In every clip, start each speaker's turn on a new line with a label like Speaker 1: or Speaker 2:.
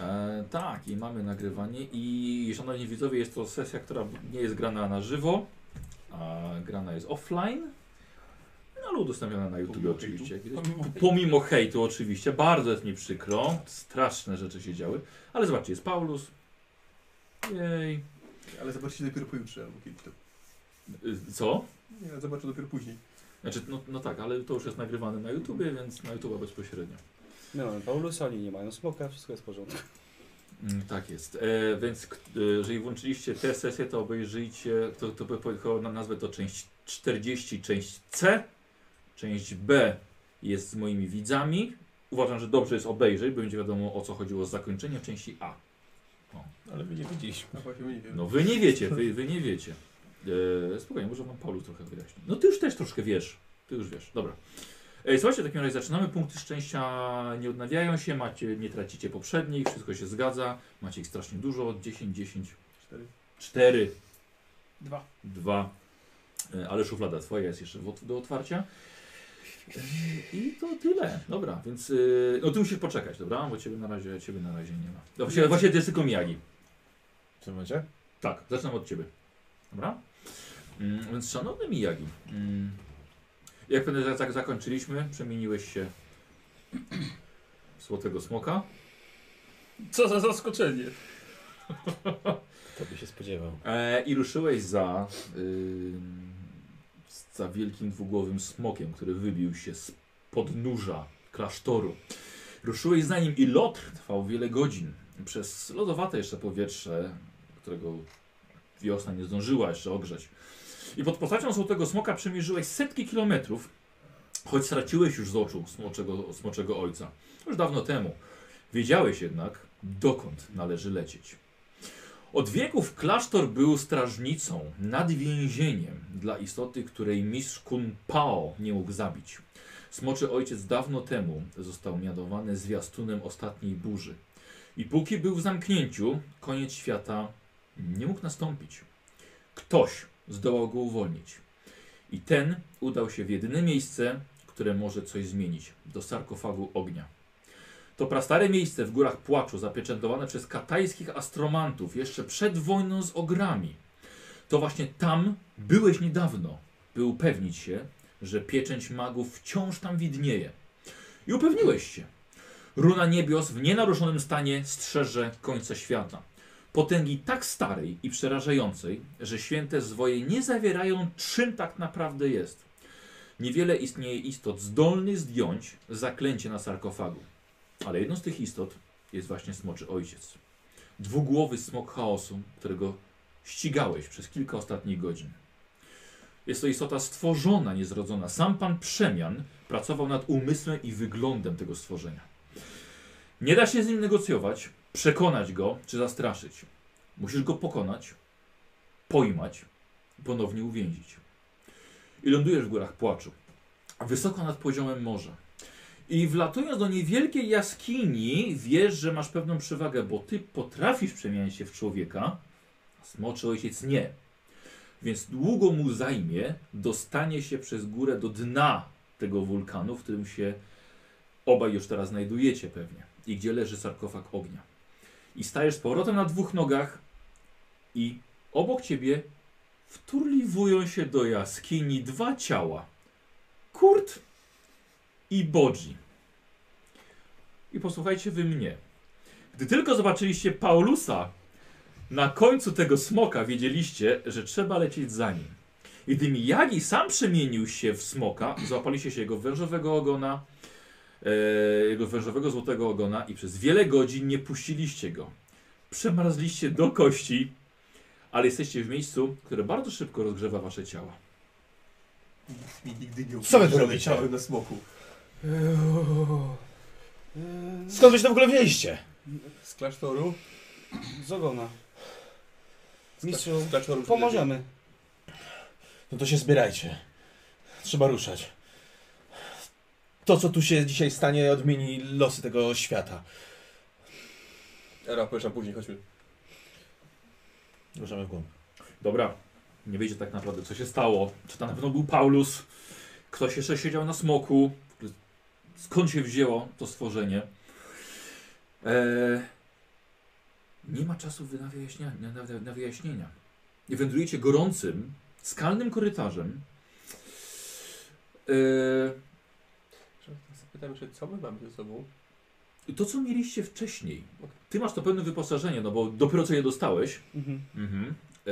Speaker 1: E, tak, i mamy nagrywanie. I szanowni widzowie, jest to sesja, która nie jest grana na żywo, a grana jest offline. No, ale udostępniona na YouTube
Speaker 2: Pomimo
Speaker 1: oczywiście. Jak widać.
Speaker 2: Pomimo-
Speaker 1: Pomimo hejtu oczywiście, bardzo jest mi przykro. Straszne rzeczy się działy. Ale zobaczcie, jest Paulus. Jej.
Speaker 2: Ale zobaczcie dopiero pojutrze albo kiedyś to.
Speaker 1: Y, Co?
Speaker 2: Nie, zobaczę dopiero później.
Speaker 1: Znaczy, no, no tak, ale to już jest nagrywane na YouTubie, więc na YouTube'a bezpośrednio.
Speaker 3: My mamy Paulusa, oni nie mają smoka, wszystko jest w porządku.
Speaker 1: Mm, Tak jest. E, więc k- e, jeżeli włączyliście tę sesję, to obejrzyjcie, to, to by pojechało na nazwę to część 40, część C. Część B jest z moimi widzami. Uważam, że dobrze jest obejrzeć, bo będzie wiadomo o co chodziło z zakończeniem części A.
Speaker 4: Ale my nie widzieliśmy.
Speaker 2: A właśnie my nie wiem.
Speaker 1: No wy nie wiecie, wy, wy nie wiecie. E, spokojnie, może wam Paulus trochę wyjaśni. No ty już też troszkę wiesz. Ty już wiesz, dobra. E, słuchajcie, w takim razie zaczynamy. Punkty szczęścia nie odnawiają się, macie, nie tracicie poprzednich, wszystko się zgadza. Macie ich strasznie dużo, 10, 10,
Speaker 2: Cztery.
Speaker 1: 4,
Speaker 5: Dwa.
Speaker 1: 2. E, Ale szuflada twoja jest jeszcze w- do otwarcia. E, I to tyle. Dobra, więc. y, No ty musisz poczekać, dobra? Bo ciebie na razie, ciebie na razie nie ma. No, Właśnie, właśnie ty jest tylko Miyagi.
Speaker 4: W tym momencie?
Speaker 1: Tak, zaczynam od ciebie. Dobra? Mm, więc szanowny Miyagi, mm, jak pewnie za- tak zakończyliśmy, przemieniłeś się w złotego smoka.
Speaker 5: Co za zaskoczenie.
Speaker 4: To by się spodziewał.
Speaker 1: E, I ruszyłeś za, ym, za wielkim dwugłowym smokiem, który wybił się z podnóża klasztoru. Ruszyłeś za nim i lot trwał wiele godzin. Przez lodowate jeszcze powietrze, którego wiosna nie zdążyła jeszcze ogrzać. I pod postacią złotego smoka przemierzyłeś setki kilometrów, choć straciłeś już z oczu smoczego, smoczego ojca. Już dawno temu. Wiedziałeś jednak, dokąd należy lecieć. Od wieków klasztor był strażnicą nad więzieniem dla istoty, której mistrz Kun Pao nie mógł zabić. Smoczy ojciec dawno temu został mianowany zwiastunem ostatniej burzy. I póki był w zamknięciu, koniec świata nie mógł nastąpić. Ktoś zdołał go uwolnić. I ten udał się w jedyne miejsce, które może coś zmienić do sarkofagu ognia. To prastare miejsce w górach płaczu, zapieczętowane przez katajskich astromantów jeszcze przed wojną z ogrami. To właśnie tam byłeś niedawno, by upewnić się, że pieczęć magów wciąż tam widnieje. I upewniłeś się. Runa niebios w nienaruszonym stanie strzeże końca świata. Potęgi tak starej i przerażającej, że święte zwoje nie zawierają, czym tak naprawdę jest. Niewiele istnieje istot zdolnych zdjąć zaklęcie na sarkofagu. Ale jedną z tych istot jest właśnie smoczy ojciec. Dwugłowy smok chaosu, którego ścigałeś przez kilka ostatnich godzin. Jest to istota stworzona, niezrodzona. Sam pan Przemian pracował nad umysłem i wyglądem tego stworzenia. Nie da się z nim negocjować, przekonać go czy zastraszyć. Musisz go pokonać, pojmać i ponownie uwięzić. I lądujesz w górach płaczu, wysoko nad poziomem morza. I wlatując do niewielkiej jaskini, wiesz, że masz pewną przewagę, bo ty potrafisz przemieniać się w człowieka, a smoczy ojciec nie. Więc długo mu zajmie dostanie się przez górę do dna tego wulkanu, w którym się obaj już teraz znajdujecie pewnie. I gdzie leży sarkofag ognia. I stajesz z powrotem na dwóch nogach i obok ciebie wturliwują się do jaskini dwa ciała. Kurt i Bodzi. I posłuchajcie wy mnie. Gdy tylko zobaczyliście Paulusa, na końcu tego smoka wiedzieliście, że trzeba lecieć za nim. I gdy Miyagi sam przemienił się w smoka, złapaliście się jego wężowego ogona, e, jego wężowego złotego ogona i przez wiele godzin nie puściliście go. Przemarzliście do kości, ale jesteście w miejscu, które bardzo szybko rozgrzewa wasze ciała.
Speaker 2: Nikt mi nigdy nie
Speaker 4: Co wy tu
Speaker 2: że
Speaker 4: robicie?
Speaker 2: leciałem na smoku.
Speaker 3: Eee,
Speaker 4: Skąd byście w ogóle wzięliście?
Speaker 2: Z klasztoru?
Speaker 3: Z ogona.
Speaker 2: Z
Speaker 3: Mistrzu,
Speaker 2: kla- z klasztoru
Speaker 3: Pomożemy.
Speaker 4: No to się zbierajcie. Trzeba ruszać. To, co tu się dzisiaj stanie, odmieni losy tego świata.
Speaker 2: przylezie. Era, powieszam później, chodźmy.
Speaker 4: Ruszamy w głąb.
Speaker 1: Dobra, nie wiecie tak naprawdę co się stało. Czy to na pewno był Paulus? Ktoś jeszcze siedział na smoku? W ogóle Skąd się wzięło to stworzenie? E, nie ma czasu na wyjaśnia- na, na, na wyjaśnienia. I wędrujecie gorącym, skalnym korytarzem. E,
Speaker 2: Zapytam jeszcze, co my mamy ze sobą?
Speaker 1: to, co mieliście wcześniej. Ty masz to pełne wyposażenie, no bo dopiero co je dostałeś.
Speaker 3: Mhm.
Speaker 1: Mhm. E,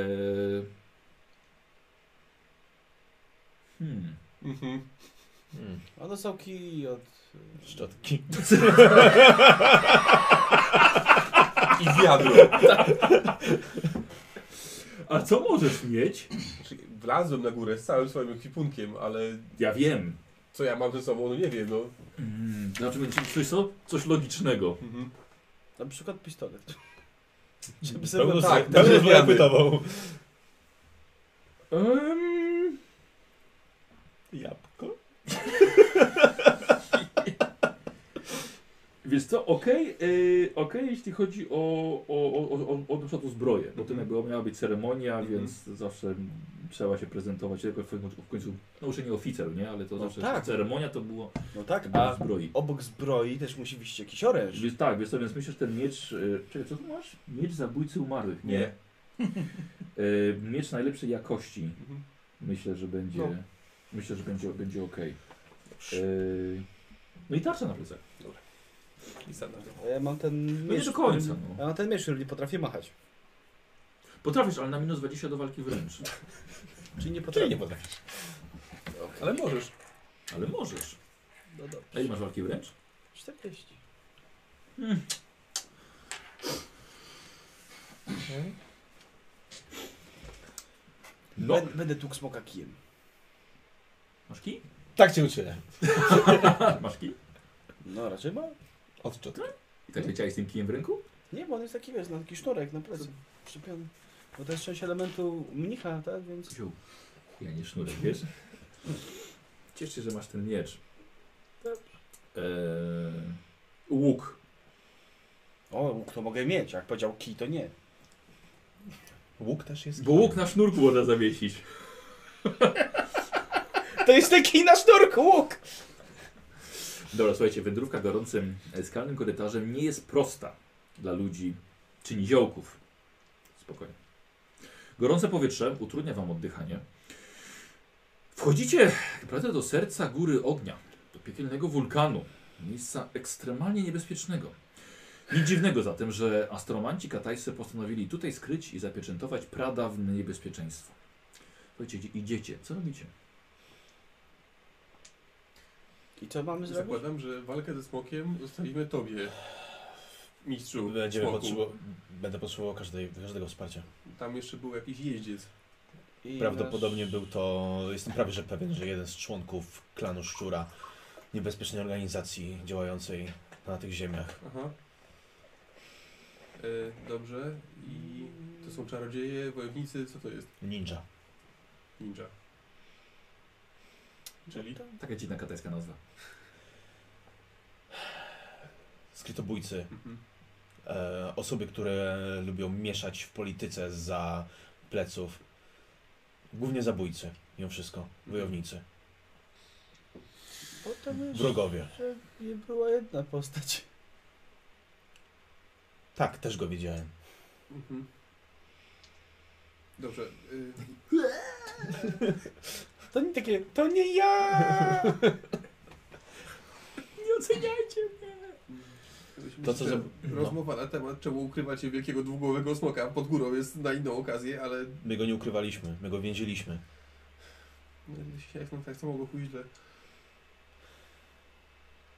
Speaker 1: hmm.
Speaker 2: Mhm.
Speaker 4: Mm.
Speaker 3: A dostał kij od...
Speaker 4: Szczotki.
Speaker 2: I wiadro.
Speaker 1: A co możesz mieć?
Speaker 2: Znaczy, wlazłem na górę z całym swoim ekwipunkiem, ale
Speaker 1: Ja wiem.
Speaker 2: co ja mam ze sobą, no nie wiem, no.
Speaker 1: Mm, znaczy będzie coś, co? coś logicznego.
Speaker 2: Mhm.
Speaker 3: Na przykład pistolet. Żeby sobie
Speaker 4: Pełno
Speaker 3: go
Speaker 2: tak,
Speaker 4: tak,
Speaker 2: tak,
Speaker 4: tak,
Speaker 2: tak.
Speaker 4: pytował.
Speaker 1: Em,
Speaker 4: Jabłko?
Speaker 1: Wiesz co, okej, okay, jeśli chodzi o, o, o, o, o, o, na przykład o zbroję, bo to
Speaker 2: Mhm.
Speaker 1: jakby miała być ceremonia,
Speaker 2: Mhm.
Speaker 1: więc zawsze trzeba się prezentować, tylko w końcu- w końcu, no już nie oficer, nie, ale to
Speaker 3: No
Speaker 1: zawsze
Speaker 3: tak.
Speaker 1: ceremonia to było,
Speaker 3: No
Speaker 1: to
Speaker 3: tak,
Speaker 1: było
Speaker 3: a
Speaker 1: w zbroi.
Speaker 3: obok zbroi też musi być jakiś oręż.
Speaker 1: Więc tak, wiesz co, więc myślę, że ten miecz, y, czekaj, co tu masz? Miecz zabójcy umarłych, nie?
Speaker 2: Nie.
Speaker 1: Y, miecz najlepszej jakości,
Speaker 2: Mhm.
Speaker 1: myślę, że będzie,
Speaker 2: No.
Speaker 1: myślę, że będzie, będzie okej. Y, no i tarcza na plecach.
Speaker 2: I standard.
Speaker 3: A ja mam ten
Speaker 1: No nie
Speaker 3: miecz,
Speaker 1: do końca,
Speaker 3: którym-
Speaker 1: no.
Speaker 3: Ja mam ten miecz, który nie potrafię machać.
Speaker 1: Potrafisz, ale na minus 20 do walki wręcz.
Speaker 3: Czyli nie
Speaker 4: Czyli
Speaker 3: potrafię.
Speaker 4: nie tak. potrafisz.
Speaker 2: Ale możesz.
Speaker 1: Ale możesz.
Speaker 3: No dobrze.
Speaker 1: A ile masz walki wręcz?
Speaker 3: 40.
Speaker 1: No.
Speaker 3: Będę, będę tłukł smoka kijem.
Speaker 1: Masz kij? Tak,
Speaker 4: Tak cię uczyłem.
Speaker 1: Masz kij?
Speaker 3: No raczej ma.
Speaker 4: Od czotki.
Speaker 1: I tak leciałeś z tym kijem w ręku?
Speaker 3: Nie, bo on jest taki, wiesz, na taki sznurek na plecy. Przypiony. Bo to jest część elementu mnicha, tak? Więc...
Speaker 1: Ciu. Ja nie sznurek, wiesz? Ciesz się, że masz ten miecz. Eee, łuk.
Speaker 3: O, łuk to mogę mieć. Jak powiedział kij, to nie.
Speaker 4: Łuk też jest.
Speaker 1: Bo łuk na sznurku można zawiesić.
Speaker 3: To jest ten kij na sznurku, łuk!
Speaker 1: Dobra, słuchajcie, wędrówka gorącym e, skalnym korytarzem nie jest prosta dla ludzi czy niziołków. Spokojnie. Gorące powietrze utrudnia wam oddychanie. Wchodzicie naprawdę do serca góry ognia, do piekielnego wulkanu, miejsca ekstremalnie niebezpiecznego. Nic dziwnego zatem, że astromanci katajscy postanowili tutaj skryć i zapieczętować pradawne niebezpieczeństwo. Słuchajcie, gdzie idziecie? Co robicie?
Speaker 3: I co mamy zrobić?
Speaker 2: Zakładam, że walkę ze smokiem zostawimy tobie. Mistrzu,
Speaker 4: Będziemy
Speaker 2: smoku.
Speaker 4: potrzebował, będę potrzebował każdej, każdego wsparcia.
Speaker 2: Tam jeszcze był jakiś jeździec.
Speaker 3: I
Speaker 4: Prawdopodobnie był to, jestem prawie że pewien, że jeden z członków klanu Szczura, niebezpiecznej organizacji działającej na tych ziemiach.
Speaker 2: Aha. E, dobrze. I to są czarodzieje, wojownicy, co to jest?
Speaker 4: Ninja.
Speaker 2: Ninja. Czyli?
Speaker 1: Taka dziwna katajska nazwa.
Speaker 4: Skrytobójcy.
Speaker 2: Mhm.
Speaker 4: E, osoby, które lubią mieszać w polityce za pleców. Głównie zabójcy, mimo wszystko. Wojownicy.
Speaker 3: Potem jeszcze
Speaker 4: Wrogowie.
Speaker 3: nie była jedna postać.
Speaker 4: Tak, też go widziałem.
Speaker 2: Mhm. Dobrze. Y,
Speaker 3: To nie takie, to nie ja!
Speaker 1: Nie oceniajcie mnie!
Speaker 2: Gdybyśmy
Speaker 4: To, co
Speaker 2: jeszcze
Speaker 4: za- no.
Speaker 2: Rozmowa na temat, czemu ukrywacie wielkiego dwugłowego smoka pod górą jest na inną okazję, ale
Speaker 4: My go nie ukrywaliśmy, my go więziliśmy.
Speaker 2: no, dzisiaj jak nam tak samo go pójść źle.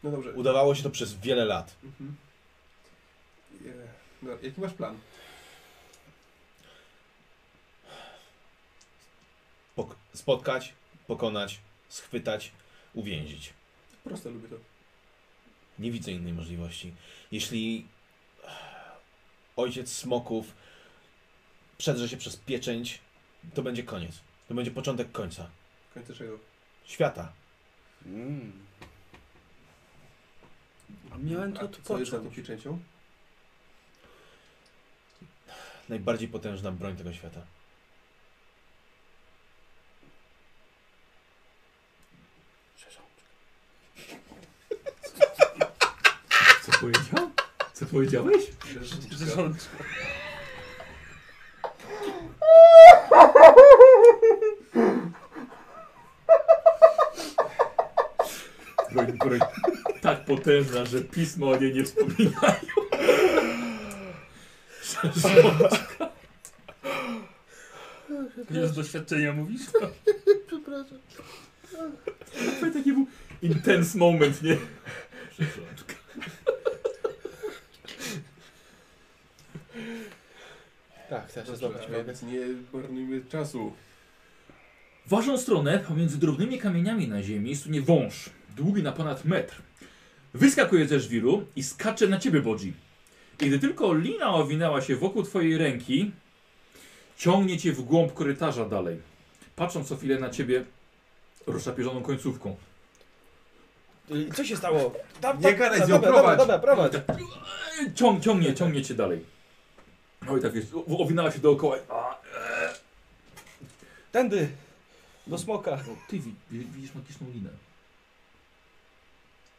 Speaker 2: No dobrze.
Speaker 4: Udawało się to przez wiele lat.
Speaker 2: Mhm. Je- No, jaki masz plan?
Speaker 4: Pok- spotkać, pokonać, schwytać, uwięzić.
Speaker 2: Proste lubię to.
Speaker 4: Nie widzę innej możliwości. Jeśli ojciec smoków przedrze się przez pieczęć, to będzie koniec. To będzie początek końca.
Speaker 2: Końce czego?
Speaker 4: świata.
Speaker 3: Mm. A miałem
Speaker 2: A
Speaker 3: to
Speaker 2: co jest za tą
Speaker 3: odpocząć.
Speaker 2: pieczęcią?
Speaker 4: Najbardziej potężna broń tego świata.
Speaker 1: Co powiedział? Co Co powiedziałeś?
Speaker 5: Rzeszorczka.
Speaker 1: Broń, broń, tak potężna, że pismo o niej nie wspominają. Szarżączka.
Speaker 5: Nie z doświadczenia mówisz?
Speaker 1: Taki był intense moment, nie? Szarżączka.
Speaker 4: Tak, też
Speaker 2: Dobrze, a więc nie marnujmy czasu.
Speaker 1: W waszą stronę, pomiędzy drobnymi kamieniami na ziemi, sunie wąż, długi na ponad metr. Wyskakuje ze żwiru i skacze na ciebie, Bodzi. I gdy tylko lina owinęła się wokół twojej ręki, ciągnie cię w głąb korytarza dalej. Patrząc co chwilę na ciebie, rusza pierzoną końcówką.
Speaker 3: Y, Co się stało? Da,
Speaker 2: Nie gadaj z nią,
Speaker 3: dobra,
Speaker 2: prowadź.
Speaker 3: dobra, dobra, prowadź.
Speaker 1: Ciąg, ciągnie, ciągnie cię dalej. No i tak jest, o- owinęła się dookoła. A,
Speaker 3: Tędy. Do smoka.
Speaker 1: o, ty wi- wi- widzisz magiczną linę.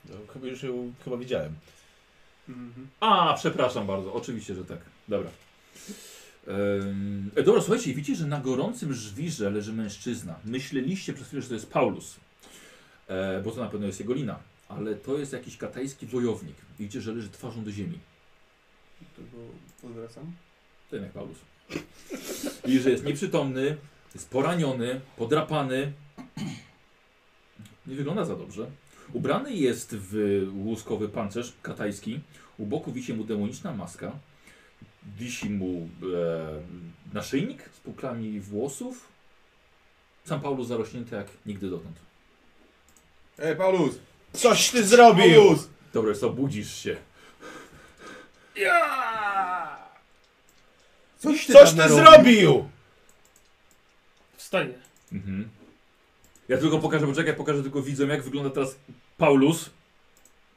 Speaker 4: No, chyba już ją chyba widziałem.
Speaker 2: Mhm.
Speaker 1: A, przepraszam bardzo, oczywiście, że tak. Dobra. Ehm, e, dobra, słuchajcie, widzicie, że na gorącym żwirze leży mężczyzna. Myśleliście przez chwilę, że to jest Paulus, e, bo to na pewno jest jego lina, ale to jest jakiś katajski wojownik. Widzicie, że leży twarzą do ziemi,
Speaker 2: To go odwracam.
Speaker 1: ten jak Paulus. I że jest nieprzytomny, jest poraniony, podrapany. Nie wygląda za dobrze. Ubrany jest w łuskowy pancerz katajski. U boku wisi mu demoniczna maska. Wisi mu e, naszyjnik z puklami włosów. Sam Paulus zarośnięty jak nigdy dotąd.
Speaker 2: Ej, E, Paulus!
Speaker 4: Coś ty zrobił!
Speaker 2: Paulus!
Speaker 1: Dobra, jest to budzisz się.
Speaker 5: Ja!
Speaker 2: Coś ty,
Speaker 4: Coś
Speaker 2: tam
Speaker 4: ty
Speaker 2: narobił?
Speaker 4: zrobił!
Speaker 5: Wstaję.
Speaker 1: Mhm. Ja tylko pokażę, poczekaj, pokażę tylko widzom, jak wygląda teraz Paulus.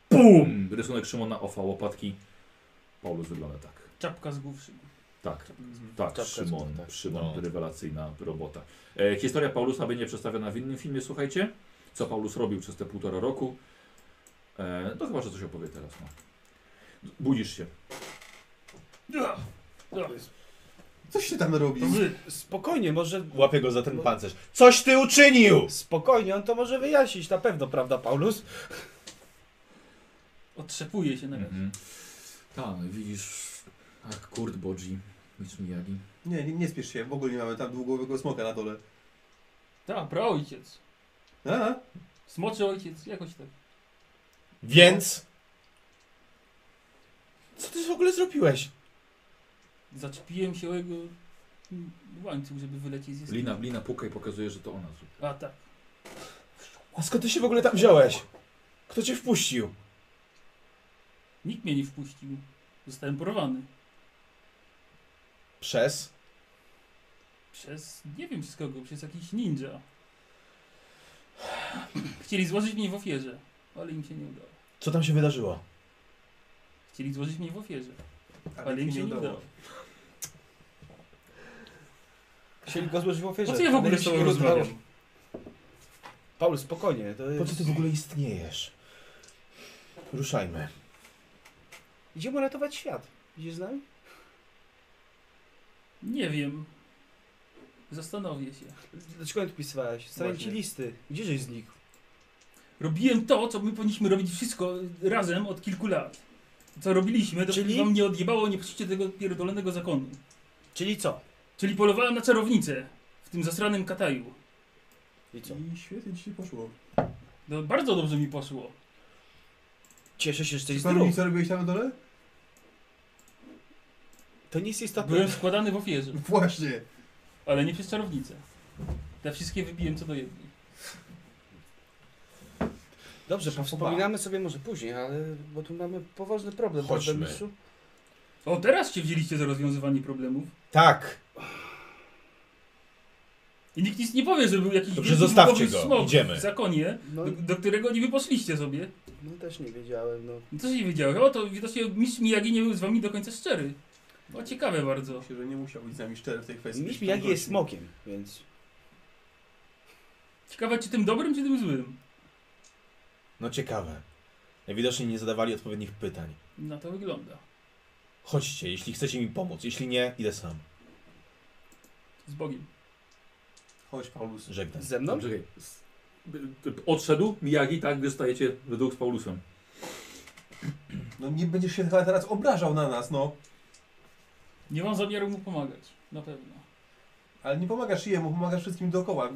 Speaker 1: Pum! Mm, Rysunek Szymona Ofa, łopatki. Paulus wygląda tak.
Speaker 5: Czapka z głów. szyb.
Speaker 1: Tak, tak,
Speaker 4: Czapka
Speaker 1: Szymon,
Speaker 4: z- tak.
Speaker 1: Szymon,
Speaker 4: No.
Speaker 1: rewelacyjna robota. E, historia Paulusa będzie przedstawiona w innym filmie, słuchajcie. Co Paulus robił przez te półtora roku. E, to chyba, że coś opowie teraz. No. Budzisz się.
Speaker 5: Ja! Ja.
Speaker 2: Coś ty tam robił?
Speaker 5: To wy.
Speaker 3: Spokojnie, może...
Speaker 4: Łapię go za ten pancerz. Coś ty uczynił!
Speaker 3: Spokojnie, on to może wyjaśnić na pewno, prawda, Paulus?
Speaker 5: Otrzepuje się na
Speaker 1: Mhm. Tak, widzisz, tak, Kurt Bodzi, Mitch Miyagi.
Speaker 2: Nie, nie, nie spiesz się, w ogóle nie mamy tam długowego smoka na dole.
Speaker 5: Tak, praojciec.
Speaker 2: A?
Speaker 5: Smoczy ojciec, jakoś tak.
Speaker 4: Więc? Co ty w ogóle zrobiłeś?
Speaker 5: Zaczepiłem się o jego mm, łańcuch, żeby wylecieć z jaskini.
Speaker 1: Lina, Lina puka i pokazuje, że to ona.
Speaker 5: A tak.
Speaker 4: A skąd ty się w ogóle tam wziąłeś? Kto cię wpuścił?
Speaker 5: Nikt mnie nie wpuścił. Zostałem porwany.
Speaker 4: Przez?
Speaker 5: Przez, nie wiem przez kogo, przez jakiś ninja. Chcieli złożyć mnie w ofierze, ale im się nie udało.
Speaker 4: Co tam się wydarzyło?
Speaker 5: Chcieli złożyć mnie w ofierze, ale,
Speaker 2: Ale
Speaker 5: im się nie udało.
Speaker 3: Chcieli go złożyć w ofierze.
Speaker 5: Po co ja w
Speaker 3: ale
Speaker 5: ogóle
Speaker 3: im
Speaker 5: z
Speaker 3: się
Speaker 5: tobą
Speaker 3: nie udało.
Speaker 5: rozmawiam?
Speaker 3: Paulus, spokojnie, to jest...
Speaker 4: Po co ty w ogóle istniejesz? Ruszajmy.
Speaker 3: Idziemy ratować świat. Idziesz z nami?
Speaker 5: Nie wiem. Zastanowię się.
Speaker 3: Dlaczego nie odpisywałeś? Stawiam ci
Speaker 2: Właśnie.
Speaker 3: listy. Gdzie żeś znikł?
Speaker 5: Robiłem to, co my powinniśmy robić wszystko razem od kilku lat. Co robiliśmy, dopóki
Speaker 3: Czyli?
Speaker 5: wam nie odjebało, nie poczucie tego pierdolonego zakonu.
Speaker 3: Czyli co?
Speaker 5: Czyli polowałem na czarownicę w tym zasranym kataju.
Speaker 3: I co?
Speaker 2: I świetnie ci się poszło.
Speaker 5: No, bardzo dobrze mi poszło.
Speaker 3: Cieszę się, że jesteś
Speaker 2: Czy pan mówi,
Speaker 3: zdrów.
Speaker 2: co robiłeś tam na dole?
Speaker 3: To nie jest istotne.
Speaker 5: Byłem składany w ofierze,
Speaker 2: No Właśnie.
Speaker 5: ale nie przez czarownicę. Te wszystkie wybiłem co do jednej.
Speaker 3: Dobrze,
Speaker 2: Szefowa.
Speaker 3: wspominamy sobie może później, ale... Bo tu mamy poważny problem, prawda,
Speaker 4: Chodźmy.
Speaker 3: mistrzu?
Speaker 5: O, teraz się wzięliście za rozwiązywanie problemów.
Speaker 4: Tak!
Speaker 5: I nikt nic nie powie, że był jakiś
Speaker 4: Dobrze,
Speaker 5: wielki
Speaker 4: zostawcie
Speaker 5: duchowy
Speaker 4: go,
Speaker 5: smok
Speaker 4: idziemy.
Speaker 5: w zakonie,
Speaker 3: No,
Speaker 5: do, do którego nie wyposzliście sobie.
Speaker 3: no też nie wiedziałem, no.
Speaker 5: No Co się wiedziałeś? O, to widocznie mistrz Miyagi nie był z wami do końca szczery. O, ciekawe bardzo.
Speaker 2: Myślę, że nie musiał być z nami szczery w tej kwestii.
Speaker 3: Miś mi jaki jest smokiem, więc...
Speaker 5: Ciekawe, czy tym dobrym, czy tym złym.
Speaker 4: No ciekawe. Najwidoczniej nie zadawali odpowiednich pytań.
Speaker 5: Na to wygląda.
Speaker 4: Chodźcie, jeśli chcecie mi pomóc. Jeśli nie, idę sam.
Speaker 5: Z Bogiem.
Speaker 2: Chodź, Paulus.
Speaker 4: Żegnam.
Speaker 3: Ze mną?
Speaker 1: Czekaj. S- y, y, Odszedł Miyagi, tak? Wy stajecie według z Paulusem.
Speaker 2: No nie będziesz się chyba teraz obrażał na nas, no.
Speaker 5: Nie mam zamiaru mu pomagać. Na pewno.
Speaker 2: Ale nie pomagasz jemu, pomagasz wszystkim dookoła.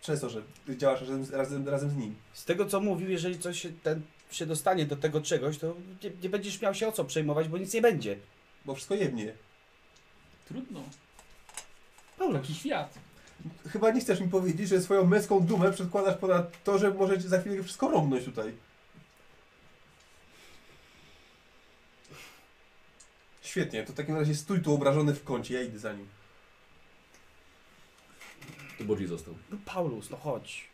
Speaker 2: Przez to, że ty działasz razem, z- razem, razem z nim.
Speaker 3: Z tego co mówił, jeżeli coś się, ten, się dostanie do tego czegoś, to nie, nie będziesz miał się o co przejmować, bo nic nie będzie.
Speaker 2: Bo wszystko jednie.
Speaker 5: Trudno.
Speaker 3: Paulus,
Speaker 5: Taki świat.
Speaker 2: Chyba nie chcesz mi powiedzieć, że swoją męską dumę przedkładasz ponad to, że może za chwilę wszystko romnąć tutaj. Świetnie, to w takim razie stój tu obrażony w kącie, ja idę za nim.
Speaker 1: To Bodzi został.
Speaker 3: no Paulus, no chodź.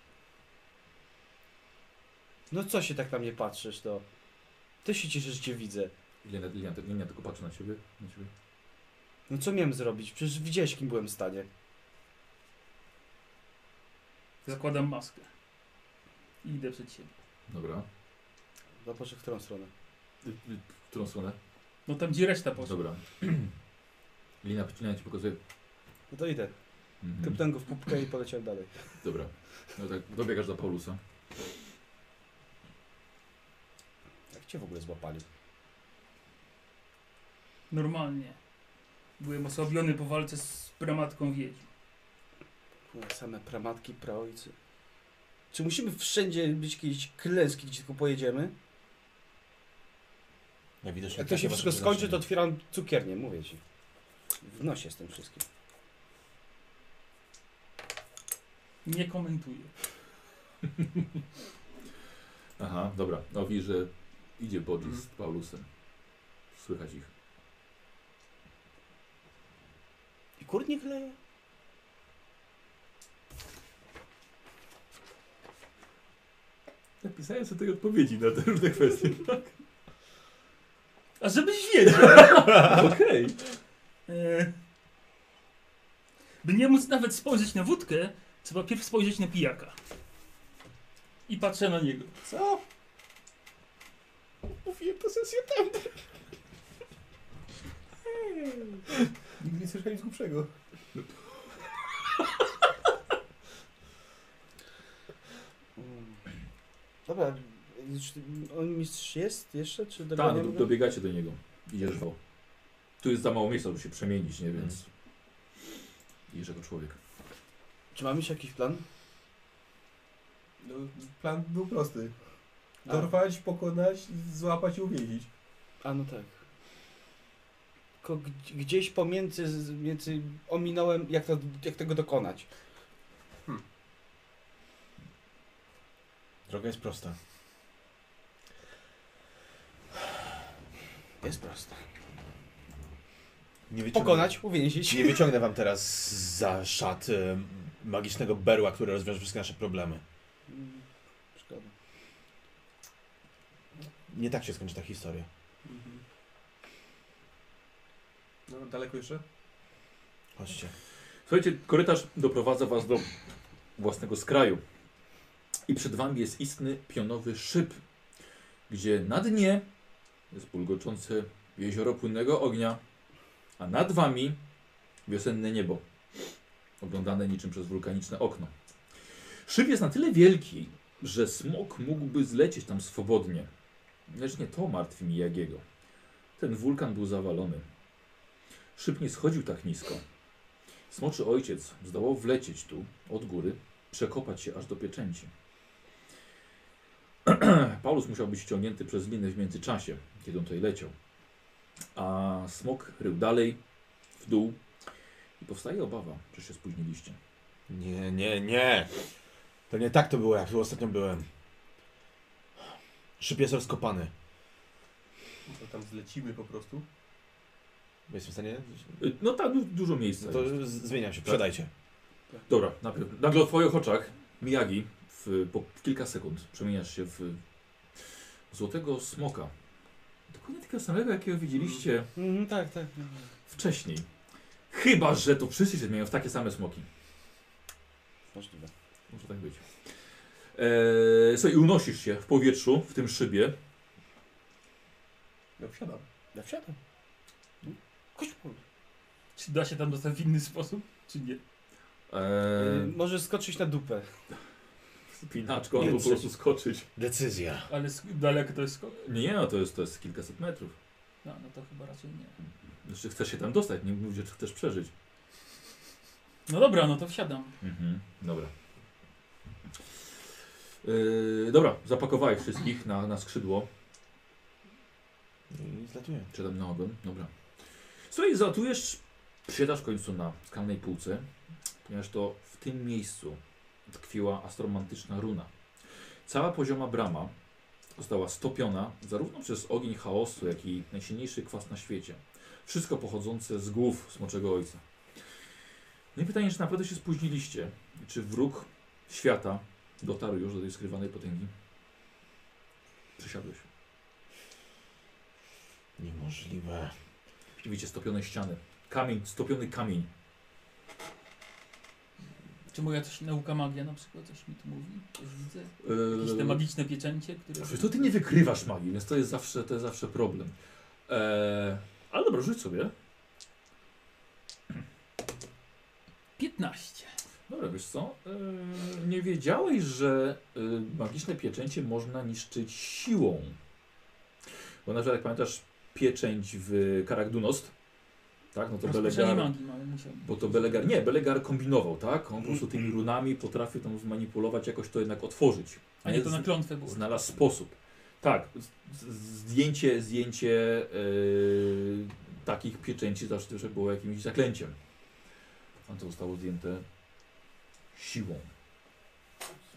Speaker 3: No co się tak na mnie patrzysz, to? Ty się cieszysz, że cię widzę.
Speaker 1: Ilenia, Ilenia, Ilenia tylko patrzy na ciebie. Na ciebie.
Speaker 3: No co miałem zrobić? Przecież widziałeś, kim byłem w stanie.
Speaker 5: Zakładam maskę. I idę przed siebie.
Speaker 1: Dobra.
Speaker 3: No proszę, w którą stronę?
Speaker 1: Y, y, W którą stronę?
Speaker 5: No tam gdzie reszta poszła.
Speaker 1: Dobra. Ilenia, Ilenia ci pokazuje.
Speaker 3: No to idę.
Speaker 1: Mhm.
Speaker 3: Kryptę go w pupkę i poleciałem dalej.
Speaker 1: Dobra. No tak, dobiegasz do Paulusa.
Speaker 3: Jak cię w ogóle złapali?
Speaker 5: Normalnie. Byłem osłabiony po walce z pramatką wiedźm.
Speaker 3: Kurwa, No, Same pramatki, praojcy. Czy musimy wszędzie być jakieś klęski, gdzie tylko pojedziemy?
Speaker 4: Najwidoczniej
Speaker 3: Jak to
Speaker 4: takie
Speaker 3: się wszystko
Speaker 4: wasze
Speaker 3: skończy, to
Speaker 4: przeznaczenie.
Speaker 3: otwieram cukiernię, mówię ci. W nosie z tym wszystkim.
Speaker 5: Nie komentuję.
Speaker 1: Aha, dobra. No widzisz, że idzie Bodzi z
Speaker 2: Mhm.
Speaker 1: Paulusem. Słychać ich.
Speaker 3: I kurnik leje?
Speaker 1: Napisałem sobie tej odpowiedzi na te różne kwestie.
Speaker 5: A żebyś wiedział.
Speaker 1: Okej.
Speaker 5: E, By nie móc nawet spojrzeć na wódkę, trzeba pierw spojrzeć na pijaka. I patrzę na niego.
Speaker 2: Co?
Speaker 4: Mówiłem to sesję.
Speaker 2: Nigdy nie słyszałem nic głupszego.
Speaker 3: Mm. Dobra, już- on mistrz jest jeszcze, czy
Speaker 1: Tak,
Speaker 3: doganiamy
Speaker 1: no,
Speaker 3: go?
Speaker 1: dobiegacie do niego. Idziesz go. Tu jest za mało miejsca, żeby się przemienić, nie? Więc... Idziesz jako człowiek.
Speaker 3: Czy mamy jeszcze jakiś plan?
Speaker 2: No, plan był prosty. No.
Speaker 3: A.
Speaker 2: Dorwać, pokonać, złapać i uwięzić.
Speaker 3: A no tak. Tylko gd- gdzieś pomiędzy, z- między ominąłem, jak, to, jak tego dokonać.
Speaker 4: Droga jest prosta.
Speaker 3: Jest proste.
Speaker 4: Nie wyciągnę-
Speaker 3: Pokonać, uwięzić.
Speaker 4: Nie wyciągnę wam teraz za szat e, magicznego berła, który rozwiąże wszystkie nasze problemy.
Speaker 3: Mm, Szkoda.
Speaker 4: Nie tak się skończy ta historia.
Speaker 2: Mhm. No, daleko jeszcze?
Speaker 4: Chodźcie.
Speaker 1: Słuchajcie, korytarz doprowadza was do własnego skraju. I przed wami jest istny pionowy szyb, gdzie na dnie jest bulgoczące jezioro płynnego ognia, a nad wami wiosenne niebo, oglądane niczym przez wulkaniczne okno. Szyb jest na tyle wielki, że smok mógłby zlecieć tam swobodnie. Lecz nie to martwi Miyagiego. Ten wulkan był zawalony. Szyb nie schodził tak nisko. Smoczy ojciec zdołał wlecieć tu od góry, przekopać się aż do pieczęci. Paulus musiał być ściągnięty przez linę w międzyczasie, kiedy on tutaj leciał. A smok rył dalej, w dół i powstaje obawa, że się spóźniliście.
Speaker 4: Nie, nie, nie. To nie tak to było, jak tu ostatnio byłem. Szyb jest rozkopany.
Speaker 2: To tam zlecimy po prostu.
Speaker 4: Jestem w stanie?
Speaker 1: Y, No tak, du- dużo miejsca.
Speaker 4: No to
Speaker 1: jest.
Speaker 4: z- zmieniam się, przedajcie.
Speaker 1: Dobra, najpierw, nagle w twoich oczach Miyagi w, po kilka sekund przemieniasz się w złotego smoka. Dokładnie takiego samego, jakiego widzieliście
Speaker 3: Mhm, tak, tak.
Speaker 1: wcześniej. Chyba, że to wszyscy się zmieniają w takie same smoki.
Speaker 3: Możliwe.
Speaker 1: Może tak być. Eee, słuchaj, unosisz się w powietrzu, w tym szybie.
Speaker 2: No wsiadam.
Speaker 3: Ja wsiadam. Kośpul.
Speaker 5: Czy da się tam dostać w inny sposób, czy nie?
Speaker 1: Eee,
Speaker 3: Może y, skoczyć na dupę.
Speaker 1: spinaczką
Speaker 4: Nie,
Speaker 1: albo po
Speaker 4: trzeci.
Speaker 1: prostu skoczyć.
Speaker 4: Decyzja.
Speaker 5: Ale sk- daleko to jest skok?
Speaker 1: Nie, no to jest, to jest kilkaset metrów.
Speaker 5: No, no to chyba raczej nie.
Speaker 1: Znaczy chcesz się tam dostać, nie mówię, czy chcesz przeżyć.
Speaker 5: No dobra, no to wsiadam.
Speaker 1: Mhm, dobra. Eee, dobra, zapakowałeś wszystkich na, na skrzydło.
Speaker 4: No I zlatuję.
Speaker 1: Czy tam na ogon? Dobra. Słuchaj, zatujesz, siadasz w końcu na skalnej półce, ponieważ to w tym miejscu tkwiła astromantyczna runa. Cała pozioma brama została stopiona zarówno przez ogień chaosu, jak i najsilniejszy kwas na świecie. Wszystko pochodzące z głów Smoczego Ojca. No i pytanie, czy naprawdę się spóźniliście? I Czy wróg świata dotarł już do tej skrywanej potęgi? Przesiadłeś.
Speaker 4: Niemożliwe.
Speaker 1: Widzicie stopione ściany. Kamień, stopiony kamień.
Speaker 5: Czy moja coś, nauka magia na przykład coś mi tu mówi? Coś widzę? Jakieś te
Speaker 1: Eee,
Speaker 5: magiczne pieczęcie, które...
Speaker 1: Przecież to ty nie wykrywasz magii, więc to jest zawsze, to jest zawsze problem. Eee, ale dobra, rzuć sobie.
Speaker 5: 15.
Speaker 1: Dobra, wiesz co? Eee, nie wiedziałeś, że y, magiczne pieczęcie można niszczyć siłą. Bo na przykład, jak pamiętasz, pieczęć w Karakdunost, tak? No to
Speaker 5: Rozproszenie
Speaker 1: Belegar...
Speaker 5: magii mamy, musiałbym.
Speaker 1: Bo to Belegar, nie, Belegar kombinował, tak? On po prostu tymi runami potrafił tam manipulować, jakoś to jednak otworzyć.
Speaker 5: A nie to na klątwę było.
Speaker 1: Znalazł sposób. Tak, z- z- zdjęcie, zdjęcie yy, takich pieczęci zawsze też było jakimś zaklęciem. A to zostało zdjęte siłą.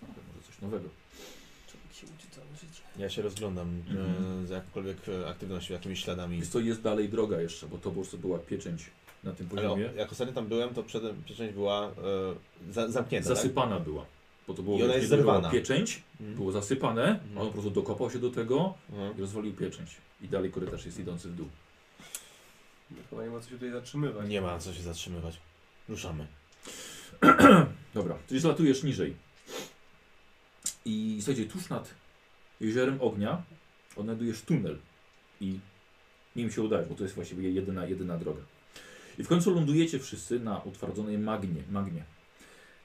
Speaker 1: Może coś nowego.
Speaker 5: Człowiek się uczy całe życie.
Speaker 4: Ja się rozglądam
Speaker 1: Mhm.
Speaker 4: e, za jakąkolwiek e, aktywnością, jakimiś śladami.
Speaker 1: Więc to jest dalej droga jeszcze, bo to po prostu była pieczęć na tym
Speaker 4: Ale o,
Speaker 1: poziomie.
Speaker 4: jak ostatnio tam byłem, to przed, pieczęć była e, za, zamknięta,
Speaker 1: Zasypana była. Bo to było
Speaker 4: I ona jest
Speaker 1: kiedy była
Speaker 4: zerwana.
Speaker 1: pieczęć,
Speaker 4: tak? Mhm.
Speaker 1: było zasypane,
Speaker 4: Mhm.
Speaker 1: a on po prostu dokopał się do tego
Speaker 4: Mhm.
Speaker 1: i rozwalił pieczęć. I dalej korytarz jest idący w dół.
Speaker 2: Chyba nie ma co się tutaj zatrzymywać.
Speaker 4: Nie ma co się zatrzymywać. Ruszamy.
Speaker 1: Dobra, czyli zlatujesz niżej. I słuchajcie, tuż nad jeziorem ognia odnajdujesz tunel. I nim się udajesz, bo to jest właściwie jedyna, jedyna droga. I w końcu lądujecie wszyscy na utwardzonej magnie. magnie.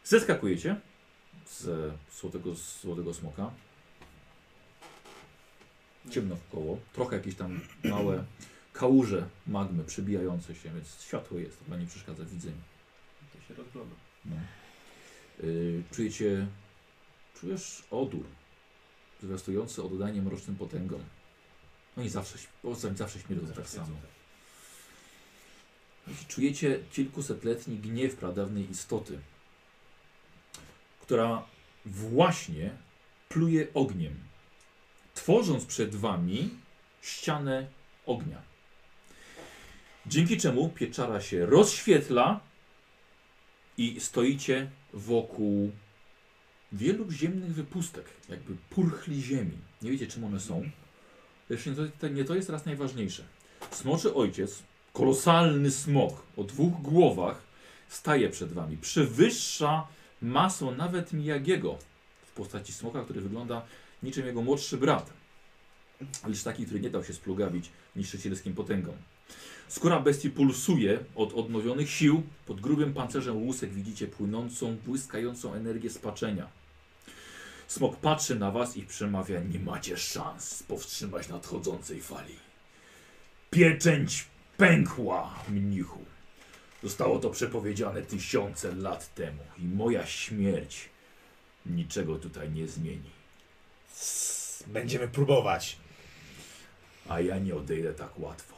Speaker 1: Zeskakujecie z złotego, z złotego smoka. Ciemno wkoło, trochę jakieś tam małe kałuże magmy przebijające się, więc światło jest, to chyba nie przeszkadza w widzeniu.
Speaker 2: To się rozgląda.
Speaker 1: No. Y, czujecie, czujesz odór zwiastujący oddanie mrocznym potęgom. Oni zawsze, ś- poza tym zawsze śmieją tak samo. Czujecie kilkusetletni gniew pradawnej istoty, która właśnie pluje ogniem, tworząc przed wami ścianę ognia. Dzięki czemu pieczara się rozświetla i stoicie wokół wielu ziemnych wypustek, jakby purchli ziemi. Nie wiecie, czym one są. Jeszcze nie to, nie to jest teraz najważniejsze. Smoczy ojciec, kolosalny smok o dwóch głowach, staje przed wami. Przewyższa masą nawet Miyagiego w postaci smoka, który wygląda niczym jego młodszy brat. Lecz taki, który nie dał się splugawić niszczycielskim potęgom. Skóra bestii pulsuje od odnowionych sił. Pod grubym pancerzem łusek widzicie płynącą, błyskającą energię spaczenia. Smok patrzy na was i przemawia: Nie macie szans powstrzymać nadchodzącej fali. Pieczęć pękła, mnichu. Zostało to przepowiedziane tysiące lat temu i moja śmierć niczego tutaj nie zmieni.
Speaker 4: Sss, Będziemy próbować.
Speaker 1: A ja nie odejdę tak łatwo.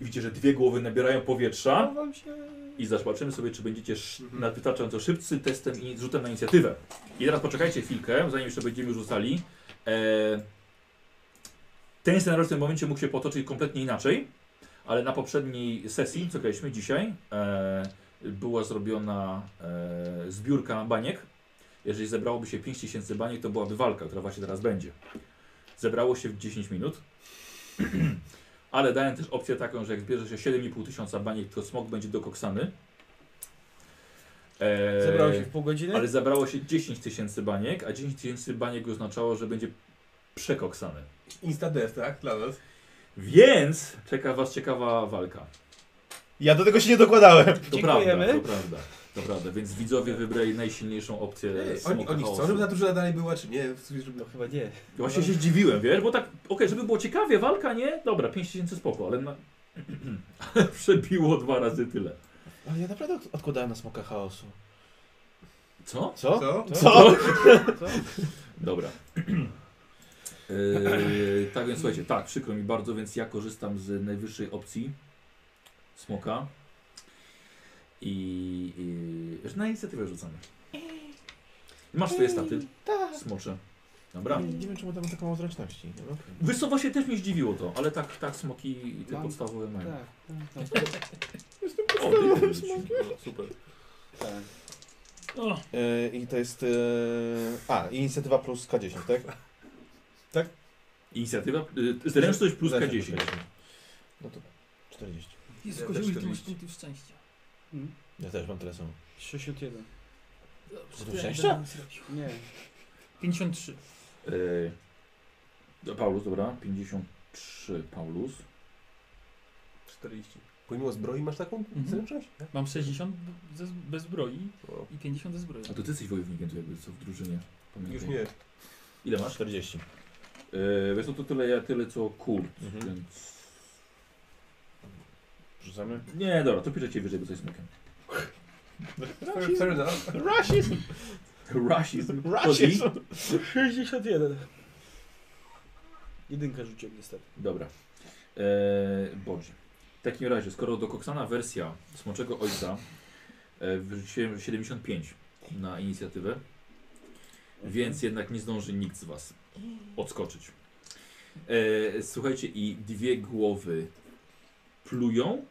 Speaker 1: I Widzicie, że dwie głowy nabierają powietrza
Speaker 2: Chowam się.
Speaker 1: i zobaczymy sobie, czy będziecie
Speaker 2: Mhm.
Speaker 1: nadwytaczająco szybcy testem i rzutem na inicjatywę. I teraz poczekajcie chwilkę, zanim jeszcze będziemy rzucali. Eee, ten scenariusz w tym momencie mógł się potoczyć kompletnie inaczej, ale na poprzedniej sesji, co graliśmy dzisiaj, eee, była zrobiona eee, zbiórka baniek. Jeżeli zebrałoby się 5000 baniek, to byłaby walka, która właśnie teraz będzie. Zebrało się w 10 minut. Ale dałem też opcję taką, że jak zbierze się 7,5 tysiąca baniek, to smok będzie dokoksany. Eee,
Speaker 3: Zebrało się w pół godziny?
Speaker 1: ale zabrało się 10 tysięcy baniek, a 10 tysięcy baniek oznaczało, że będzie przekoksany.
Speaker 2: Insta death, tak? Dla nas.
Speaker 1: Więc czeka was ciekawa walka.
Speaker 4: Ja do tego się nie dokładałem.
Speaker 1: To
Speaker 3: Dziękujemy.
Speaker 1: prawda, to prawda. To prawda, więc widzowie wybrali najsilniejszą opcję
Speaker 2: Ej, oni,
Speaker 1: smoka
Speaker 2: oni chcą,
Speaker 1: E, chaosu.
Speaker 2: żeby ta drużyna dalej była, czy nie?
Speaker 3: No
Speaker 2: Żeby...
Speaker 3: chyba nie.
Speaker 1: Właśnie się zdziwiłem, wiesz, bo tak, okej, żeby było ciekawie, walka, nie? Dobra, 5000 spoko, ale na... ale przebiło dwa razy tyle.
Speaker 4: Ale ja naprawdę od- odkładałem na smoka chaosu.
Speaker 1: Co?
Speaker 4: Co?
Speaker 2: Co?
Speaker 4: Co?
Speaker 1: Dobra. Yy, tak więc słuchajcie, tak, przykro mi bardzo, więc ja korzystam z najwyższej opcji smoka i, i że na inicjatywę rzucamy. Masz swoje staty,
Speaker 4: Tak.
Speaker 1: smocze. Dobra.
Speaker 4: Nie, nie wiem, czemu tam taką o zręczności. No, okej.
Speaker 1: Wysowo się też mnie zdziwiło to, ale tak, tak smoki i te
Speaker 3: Mam-
Speaker 1: podstawowe mają.
Speaker 3: Tak, tak, tak.
Speaker 1: O, ty, ty, no, super.
Speaker 3: tak.
Speaker 5: O,
Speaker 4: E, I to jest... E... A, inicjatywa plus K10, tak?
Speaker 1: Inicjatywa, y, zręczność plus
Speaker 4: Zręczność
Speaker 1: K10.
Speaker 4: No to 40.
Speaker 5: Jezu,
Speaker 2: Ja
Speaker 5: Koziu,
Speaker 2: też
Speaker 5: ty masz
Speaker 2: 40.
Speaker 5: punkty szczęścia.
Speaker 3: Mm.
Speaker 4: Ja też mam tyle samo.
Speaker 3: 61.
Speaker 5: Dobrze,
Speaker 4: Punkty
Speaker 5: to ja
Speaker 4: szczęścia?
Speaker 5: będę zrobił.
Speaker 3: Nie.
Speaker 5: 53.
Speaker 1: Yy, do Paulus, dobra, 53 Paulus.
Speaker 2: 40. Pomimo zbroi masz taką
Speaker 5: Mhm.
Speaker 2: zręczność? Tak?
Speaker 5: Mam 60 ze, bez zbroi
Speaker 2: O.
Speaker 5: i 50 ze zbroi.
Speaker 1: A to ty jesteś wojownikiem tu jakby co w drużynie. Pamiętaj.
Speaker 2: Już nie.
Speaker 1: Ile masz?
Speaker 4: 40.
Speaker 1: Yy, wiesz co, to tyle, ja tyle co kurt,
Speaker 4: Mhm.
Speaker 1: więc...
Speaker 4: Rzucamy?
Speaker 1: Nie, dobra, to piszę cię wyżej, bo coś smokiem.
Speaker 2: Fair enough.
Speaker 4: Rasizm!
Speaker 1: Rasizm. Chodzi?
Speaker 4: Rasizm!
Speaker 3: 61. Jedynkę rzuciłem niestety.
Speaker 1: Dobra. Eee, Bodzi. W takim razie, skoro do Koksana wersja Smoczego Ojca e, wyrzuciłem 75 na inicjatywę, więc jednak nie zdąży nikt z Was odskoczyć. E, słuchajcie, i dwie głowy plują,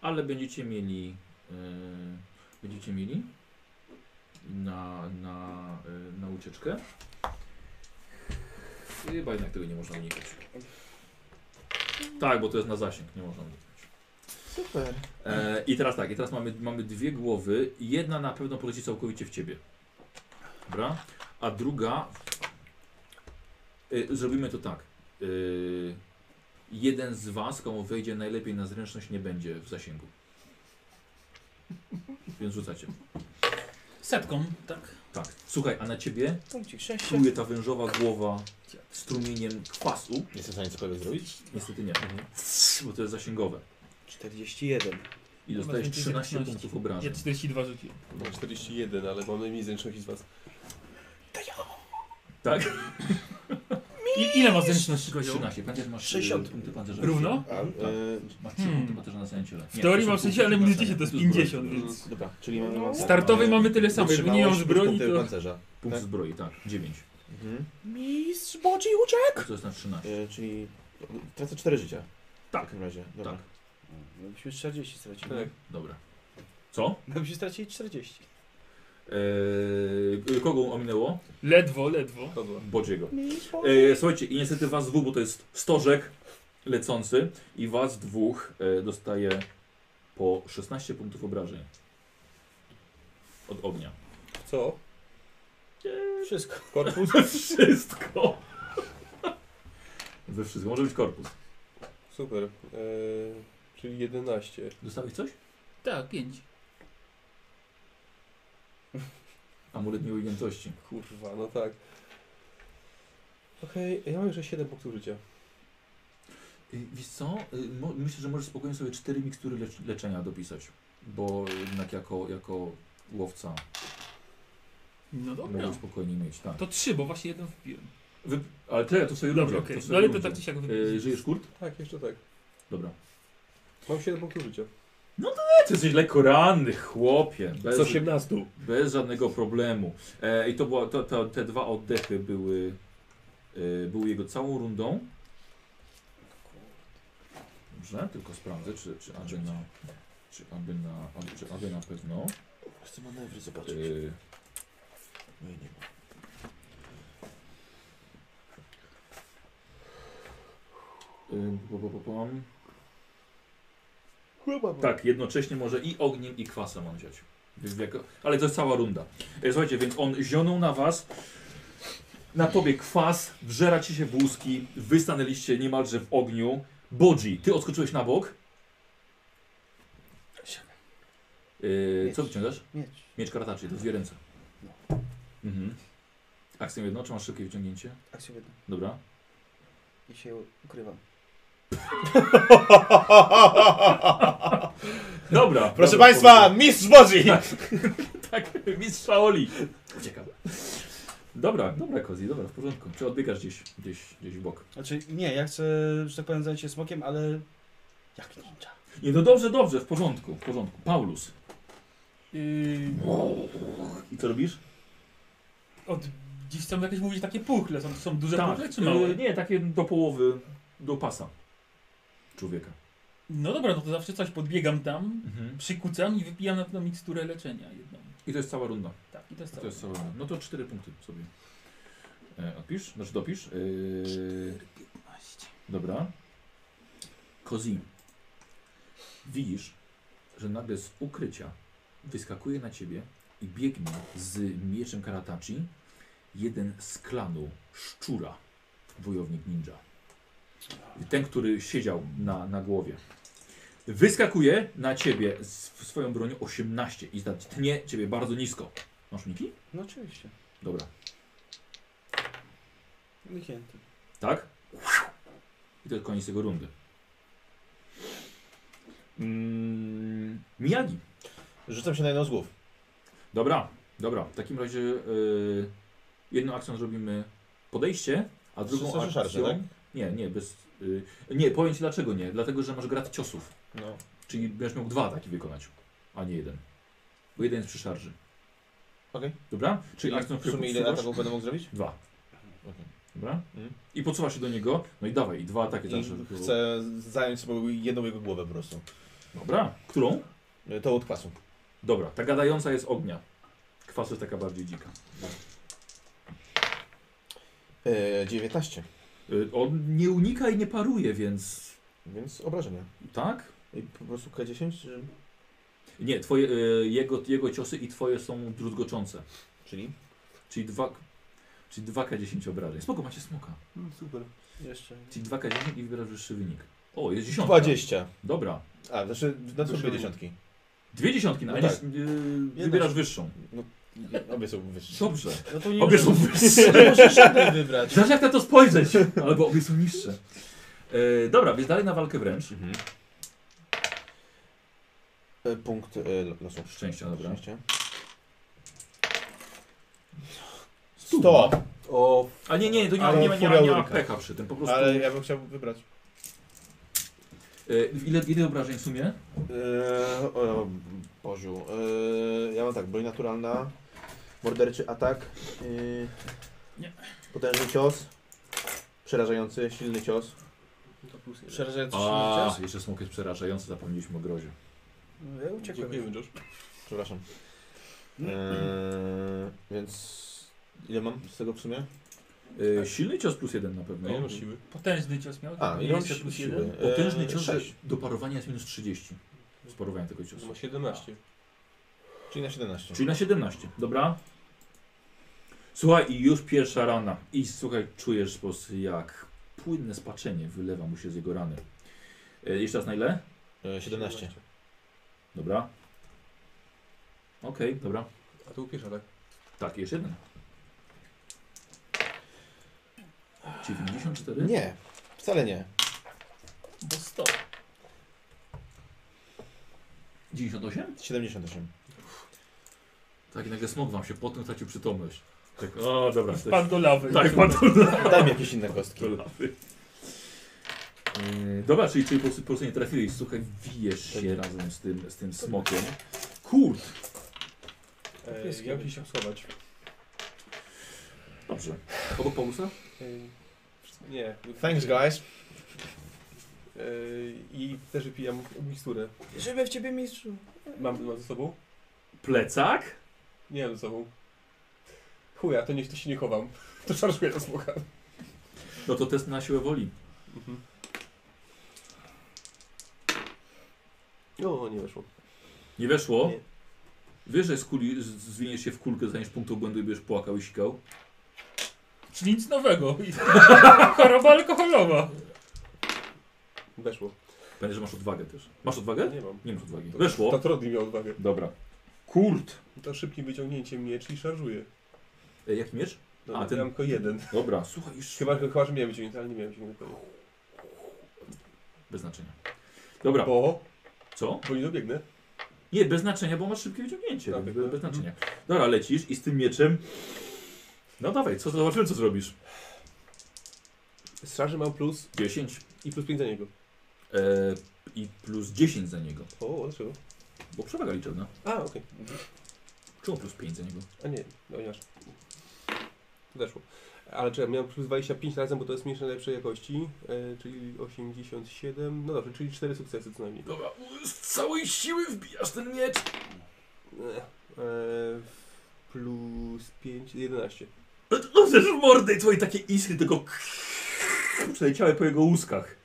Speaker 1: ale będziecie mieli e, będziecie mieli na, na, e, na ucieczkę. Chyba jednak tego nie można unikać. Tak, bo to jest na zasięg, nie można uniknąć.
Speaker 4: Super.
Speaker 1: E, I teraz tak, i teraz mamy, mamy dwie głowy. Jedna na pewno poleci całkowicie w ciebie. Dobra? A druga. E, zrobimy to tak. E, jeden z was, komu wejdzie najlepiej na zręczność, nie będzie w zasięgu. Więc rzucacie.
Speaker 5: Setką, tak.
Speaker 1: Tak. Słuchaj, a na ciebie
Speaker 3: Punkcik 6.
Speaker 1: czuje ta wężowa głowa strumieniem kwasu.
Speaker 4: Jestem w stanie cokolwiek zrobić?
Speaker 1: Niestety nie, bo to jest zasięgowe. I
Speaker 3: 41.
Speaker 5: Dobra,
Speaker 1: dostajesz
Speaker 5: więcej
Speaker 1: 13
Speaker 5: zręczności.
Speaker 1: punktów obrażeń.
Speaker 5: Ja 42 rzuciłem.
Speaker 2: Mam 41, No, ale mam najmniej zręczności z was.
Speaker 1: Tak?
Speaker 5: I, ile ma zręczności kozioł?
Speaker 1: 13, pancerz masz
Speaker 3: 60.
Speaker 1: 60 punkty pancerza.
Speaker 5: Równo?
Speaker 4: A, e,
Speaker 1: Masz 3 punkty
Speaker 5: Hmm.
Speaker 1: pancerza na całym ciele.
Speaker 5: W teorii mam 60, ale minus 10 to jest 50,
Speaker 2: zbroi.
Speaker 5: więc...
Speaker 4: dobra, czyli mamy... mamy-
Speaker 5: Startowej No. mamy tyle samo, jakby nie miał
Speaker 4: Wytrzymałość,
Speaker 5: zbroi,
Speaker 4: punkty
Speaker 5: to-
Speaker 4: pancerza.
Speaker 1: Punkt
Speaker 4: Tak.
Speaker 1: zbroi, tak. 9.
Speaker 4: Mhm.
Speaker 3: Mistrz Bodzi uciekł!
Speaker 1: To jest na 13.
Speaker 4: E, czyli tracę 4 życia.
Speaker 5: Tak.
Speaker 4: W takim razie. Dobra.
Speaker 1: Tak.
Speaker 3: No byśmy 40 stracili.
Speaker 2: Tak.
Speaker 1: Dobra. Co?
Speaker 3: No byśmy stracili 40.
Speaker 1: Eee, kogo ominęło?
Speaker 5: no. Ledwo, ledwo.
Speaker 2: Kodła.
Speaker 1: Bodziego. Eee, słuchajcie, inicjatywa was dwóch, bo to jest stożek lecący i was dwóch e, dostaje po 16 punktów obrażeń. Od ognia.
Speaker 2: Co?
Speaker 3: Wszystko.
Speaker 2: Korpus?
Speaker 1: Wszystko! We wszystko. Może być korpus.
Speaker 2: Super. Eee, czyli 11.
Speaker 1: Dostałeś coś?
Speaker 5: Tak, 5.
Speaker 1: Amulet nieugiętości.
Speaker 2: Kurwa, no tak. Okej, ja mam jeszcze 7 punktów życia.
Speaker 1: Y, Wiesz co, y, mo- myślę, że możesz spokojnie sobie cztery mikstury lecz leczenia dopisać, bo jednak jako, jako łowca
Speaker 5: No dobra.
Speaker 1: możesz spokojnie mieć, tak.
Speaker 5: To 3, bo właśnie jeden wpiłem.
Speaker 1: Wy... Ale te, to sobie
Speaker 5: Dobrze,
Speaker 1: ludzie,
Speaker 5: okej.
Speaker 1: sobie
Speaker 5: No ale to
Speaker 1: ludzie.
Speaker 5: tak czy siak
Speaker 1: Y,
Speaker 5: wypiję.
Speaker 1: Żyjesz kurt?
Speaker 2: Tak, jeszcze tak.
Speaker 1: Dobra.
Speaker 2: Mam 7 punktów życia.
Speaker 1: Ty jesteś lekko ranny, chłopie. Bez,
Speaker 2: 18.
Speaker 1: bez żadnego problemu. E, I to była, to, to, te dwa oddechy były, y, były jego całą rundą. Dobrze, tylko sprawdzę, czy, czy aby
Speaker 4: tak, no.
Speaker 1: na... Czy aby na, aby, czy aby na pewno.
Speaker 4: Chcę manewry zobaczyć.
Speaker 1: Y,
Speaker 4: No i nie ma.
Speaker 1: Ym, Y, pom, pom, pom, pom. Tak, jednocześnie może i ogniem, i kwasem on wziąć. Więc Jako, ale to jest cała runda. E, Słuchajcie, więc on zionął na was, na tobie kwas, wżera ci się w łuski, wy stanęliście niemalże w ogniu, Bodzi, ty odskoczyłeś na bok. Yy, co wyciągasz?
Speaker 3: Miecz.
Speaker 1: Miecz karataczy, to dwie ręce.
Speaker 4: No.
Speaker 1: Mhm. Akcją jedną, czy masz szybkie wyciągnięcie?
Speaker 3: Akcja jedna.
Speaker 1: Dobra.
Speaker 3: I się ukrywam.
Speaker 1: Dobra.
Speaker 4: Proszę
Speaker 1: dobra,
Speaker 4: Państwa, mistrz Boży!
Speaker 1: Tak, mistrz Shaoli. Uciekam. Dobra, dobra Kozi, dobra, w porządku. Czy odbiegasz gdzieś, gdzieś, gdzieś w bok?
Speaker 3: Znaczy, nie, ja chcę, że tak powiem, zająć się smokiem, ale jak ninja.
Speaker 1: Nie, no dobrze, dobrze, w porządku, w porządku. Paulus.
Speaker 5: Yy,
Speaker 1: I co robisz?
Speaker 5: Od dziś chcą jakieś mówić takie puchle. Są, są duże puchle czy małe?
Speaker 1: y, nie, takie do połowy, do pasa człowieka.
Speaker 5: No dobra, no to zawsze coś podbiegam tam,
Speaker 1: Mhm.
Speaker 5: przykucam i wypijam na pewno miksturę leczenia jedną.
Speaker 1: I to jest cała runda.
Speaker 5: Tak, i to jest
Speaker 1: To
Speaker 5: całe.
Speaker 1: jest cała runda. No to cztery punkty sobie e, odpisz, znaczy dopisz. Yy,
Speaker 5: 15.
Speaker 1: dobra. Kozi. Widzisz, że nagle z ukrycia wyskakuje na ciebie i biegnie z mieczem Karatachi jeden z klanu Szczura, wojownik ninja. Ten, który siedział na, na głowie. Wyskakuje na ciebie z w swoją bronią 18 i zda- tnie ciebie bardzo nisko. Masz uniki?
Speaker 3: No oczywiście.
Speaker 1: Dobra.
Speaker 3: Uniknięty.
Speaker 1: Tak? I to jest koniec jego rundy. Mm, Miyagi.
Speaker 4: Rzucam się na jedną z głów.
Speaker 1: Dobra, dobra. W takim razie yy, jedną akcją zrobimy podejście, a drugą
Speaker 4: Wszyscy
Speaker 1: akcją...
Speaker 4: szarże, tak?
Speaker 1: Nie, nie, bez... y, nie, powiem Ci dlaczego nie. Dlatego, że masz grat ciosów.
Speaker 4: No.
Speaker 1: Czyli będziesz miał dwa taki wykonać, a nie jeden. Bo jeden jest przy szarży.
Speaker 4: Okej.
Speaker 1: Dobra? Czyli akcją,
Speaker 4: w sumie ile
Speaker 1: podsuwasz-
Speaker 4: ataków będę mógł zrobić?
Speaker 1: Dwa.
Speaker 4: Okej.
Speaker 1: Dobra?
Speaker 4: Mhm.
Speaker 1: I podsuwa się do niego. No i dawaj, i dwa ataki
Speaker 4: I
Speaker 1: zawsze.
Speaker 4: chcę zająć sobie jedną jego głowę po prostu. E,
Speaker 1: Dobra. Którą?
Speaker 4: To od kwasu.
Speaker 1: Dobra, ta gadająca jest ognia. Kwasu jest taka bardziej dzika.
Speaker 4: E, 19,
Speaker 1: Y, On nie unika i nie paruje, więc.
Speaker 4: więc obrażenia.
Speaker 1: Tak?
Speaker 4: I po prostu K10, czy...
Speaker 1: Nie, twoje, y, jego, jego ciosy i twoje są druzgoczące.
Speaker 4: czyli?
Speaker 1: Czyli 2 czyli 2K10 obrażeń. Spoko, macie smoka.
Speaker 2: Mm, super.
Speaker 3: Jeszcze.
Speaker 1: Czyli 2K10 i wybierasz wyższy wynik. O, jest
Speaker 4: tak.
Speaker 1: dziesiątka.
Speaker 4: 20.
Speaker 1: Dobra.
Speaker 4: A, znaczy, na co dwie dziesiątki?
Speaker 1: Dwie dziesiątki, no,
Speaker 4: No
Speaker 1: ale nie-
Speaker 4: tak.
Speaker 1: y, wybierasz wyższą.
Speaker 4: No, obie są wyższe.
Speaker 1: Dobrze.
Speaker 3: No to nie
Speaker 1: Obie są wyższe.
Speaker 3: Możesz żadnej wybrać.
Speaker 1: Zależy Znaczy, jak na to spojrzeć. Albo obie są niższe. Y, dobra, więc dalej na walkę wręcz.
Speaker 4: Mhm. E, punkt e, lo- losu.
Speaker 1: Szczęścia, dobra.
Speaker 4: Szczęście.
Speaker 1: Stu.
Speaker 4: 100! O,
Speaker 1: A nie, nie, to nie, ma-
Speaker 4: Ale
Speaker 1: nie, ma- nie, ma-
Speaker 4: furia
Speaker 1: nie ma
Speaker 4: Ulryka.
Speaker 1: pecha przy tym. Po prostu.
Speaker 4: ale ja bym chciał wybrać.
Speaker 1: Y, ile, ile obrażeń w sumie?
Speaker 4: Eee, o, Boziu. Eee, ja mam tak, broń naturalna, morderczy atak, eee,
Speaker 5: Nie.
Speaker 4: potężny cios, przerażający, silny cios.
Speaker 2: To plus jeden.
Speaker 3: Przerażający
Speaker 1: A,
Speaker 3: czas.
Speaker 1: jeszcze smok jest przerażający, zapomnieliśmy o grozie.
Speaker 3: No, Ja uciekłem.
Speaker 2: Dziękujemy, Josh.
Speaker 4: Przepraszam.
Speaker 5: Mm.
Speaker 4: Eee, więc ile mam z tego w sumie?
Speaker 1: Yy, silny cios plus jeden na pewno. E,
Speaker 2: No, siły.
Speaker 5: Potężny cios miał.
Speaker 4: A, ile mam
Speaker 5: Mieliście
Speaker 4: si-
Speaker 5: plus
Speaker 4: siły?
Speaker 5: jeden.
Speaker 1: Potężny
Speaker 4: Eee,
Speaker 1: cios
Speaker 4: sześć,
Speaker 1: do parowania jest minus 30. Z parowania tego
Speaker 2: To ma
Speaker 1: ciosu.
Speaker 2: 17.
Speaker 4: Czyli na 17.
Speaker 1: Czyli na 17, dobra? Słuchaj, i już pierwsza rana. I słuchaj, czujesz sposób jak płynne spaczenie wylewa mu się z jego rany. Yy, jeszcze raz na ile?
Speaker 4: Eee, 17.
Speaker 1: Dobra. Okej, dobra.
Speaker 2: A to upiesza, tak?
Speaker 1: Tak, jeszcze jeden. 94?
Speaker 4: Nie, wcale nie.
Speaker 5: Bo 100.
Speaker 1: 98?
Speaker 4: 78.
Speaker 1: Tak, i nagle smok wam się potem stracił przytomność. Tak, o dobra. to
Speaker 5: Pan do lawy.
Speaker 1: jest- Tak, pan do
Speaker 4: Daj mi jakieś inne kostki.
Speaker 1: lawy. Yy, Dobra, czyli, czyli po, prostu, po prostu nie trafiłeś. Słuchaj, wijesz się razem z tym, z tym smokiem. Kurt!
Speaker 2: E, ja bym się chciał schować.
Speaker 1: Dobrze. Obok Paulusa?
Speaker 2: E, nie.
Speaker 4: Thanks guys.
Speaker 2: E, I też wypijam miksturę.
Speaker 3: Żeby w ciebie mistrzu.
Speaker 2: Mam, mam ze sobą?
Speaker 1: Plecak?
Speaker 2: Nie mam ze sobą. Chuja, to nie, to się nie chowam. To szarżuję do smoka.
Speaker 1: No to test na siłę woli.
Speaker 2: Mhm. No, nie weszło.
Speaker 1: Nie weszło?
Speaker 2: Nie.
Speaker 1: Wiesz, że z kuli, z- zwiniesz się w kulkę, zaniesz punkt obłędu i będziesz płakał i sikał?
Speaker 5: Czyli nic nowego. I- Choroba alkoholowa.
Speaker 2: Weszło.
Speaker 1: Pamiętaj, że masz odwagę też. Masz
Speaker 2: Ja
Speaker 1: odwagę?
Speaker 2: nie mam.
Speaker 1: Nie masz odwagi.
Speaker 2: To-
Speaker 1: Weszło.
Speaker 2: Tatrodi miał odwagę.
Speaker 1: Dobra. Kurt.
Speaker 2: To szybkim wyciągnięciem miecz i szarżuję.
Speaker 1: E, jaki miecz?
Speaker 2: No,
Speaker 1: A,
Speaker 2: A,
Speaker 1: ten-
Speaker 2: ten... Miałem tylko jeden.
Speaker 1: Dobra, słuchaj, już
Speaker 2: Chyba, chyba że miałem wyciągnięty, ale nie miałem wyciągniętego.
Speaker 1: bez znaczenia. Dobra,
Speaker 2: Bo,
Speaker 1: co?
Speaker 2: bo nie dobiegnę.
Speaker 1: Nie, bez znaczenia, bo masz szybkie wyciągnięcie.
Speaker 2: Tak,
Speaker 1: więc
Speaker 2: tak.
Speaker 1: bez znaczenia. Dobra, lecisz i z tym mieczem. No dawaj, co zobaczymy, co zrobisz.
Speaker 2: Z szarży mam plus
Speaker 1: 10
Speaker 2: i plus 5 za niego.
Speaker 1: e, i plus 10 za niego.
Speaker 2: O, dlaczego?
Speaker 1: Bo przewaga liczebna.
Speaker 2: A, okej.
Speaker 1: Czemu plus 5 za niego?
Speaker 2: A nie, no jaż. To weszło. Ale czekaj, miałem plus 25 razem, bo to jest mieszane lepszej jakości, e, czyli 87, no dobrze, czyli 4 sukcesy co najmniej.
Speaker 1: Dobra, z całej siły wbijasz ten miecz.
Speaker 2: E, e, plus 5, 11.
Speaker 1: No też w mordę i twoje takie iskry tylko przeleciały po jego łuskach.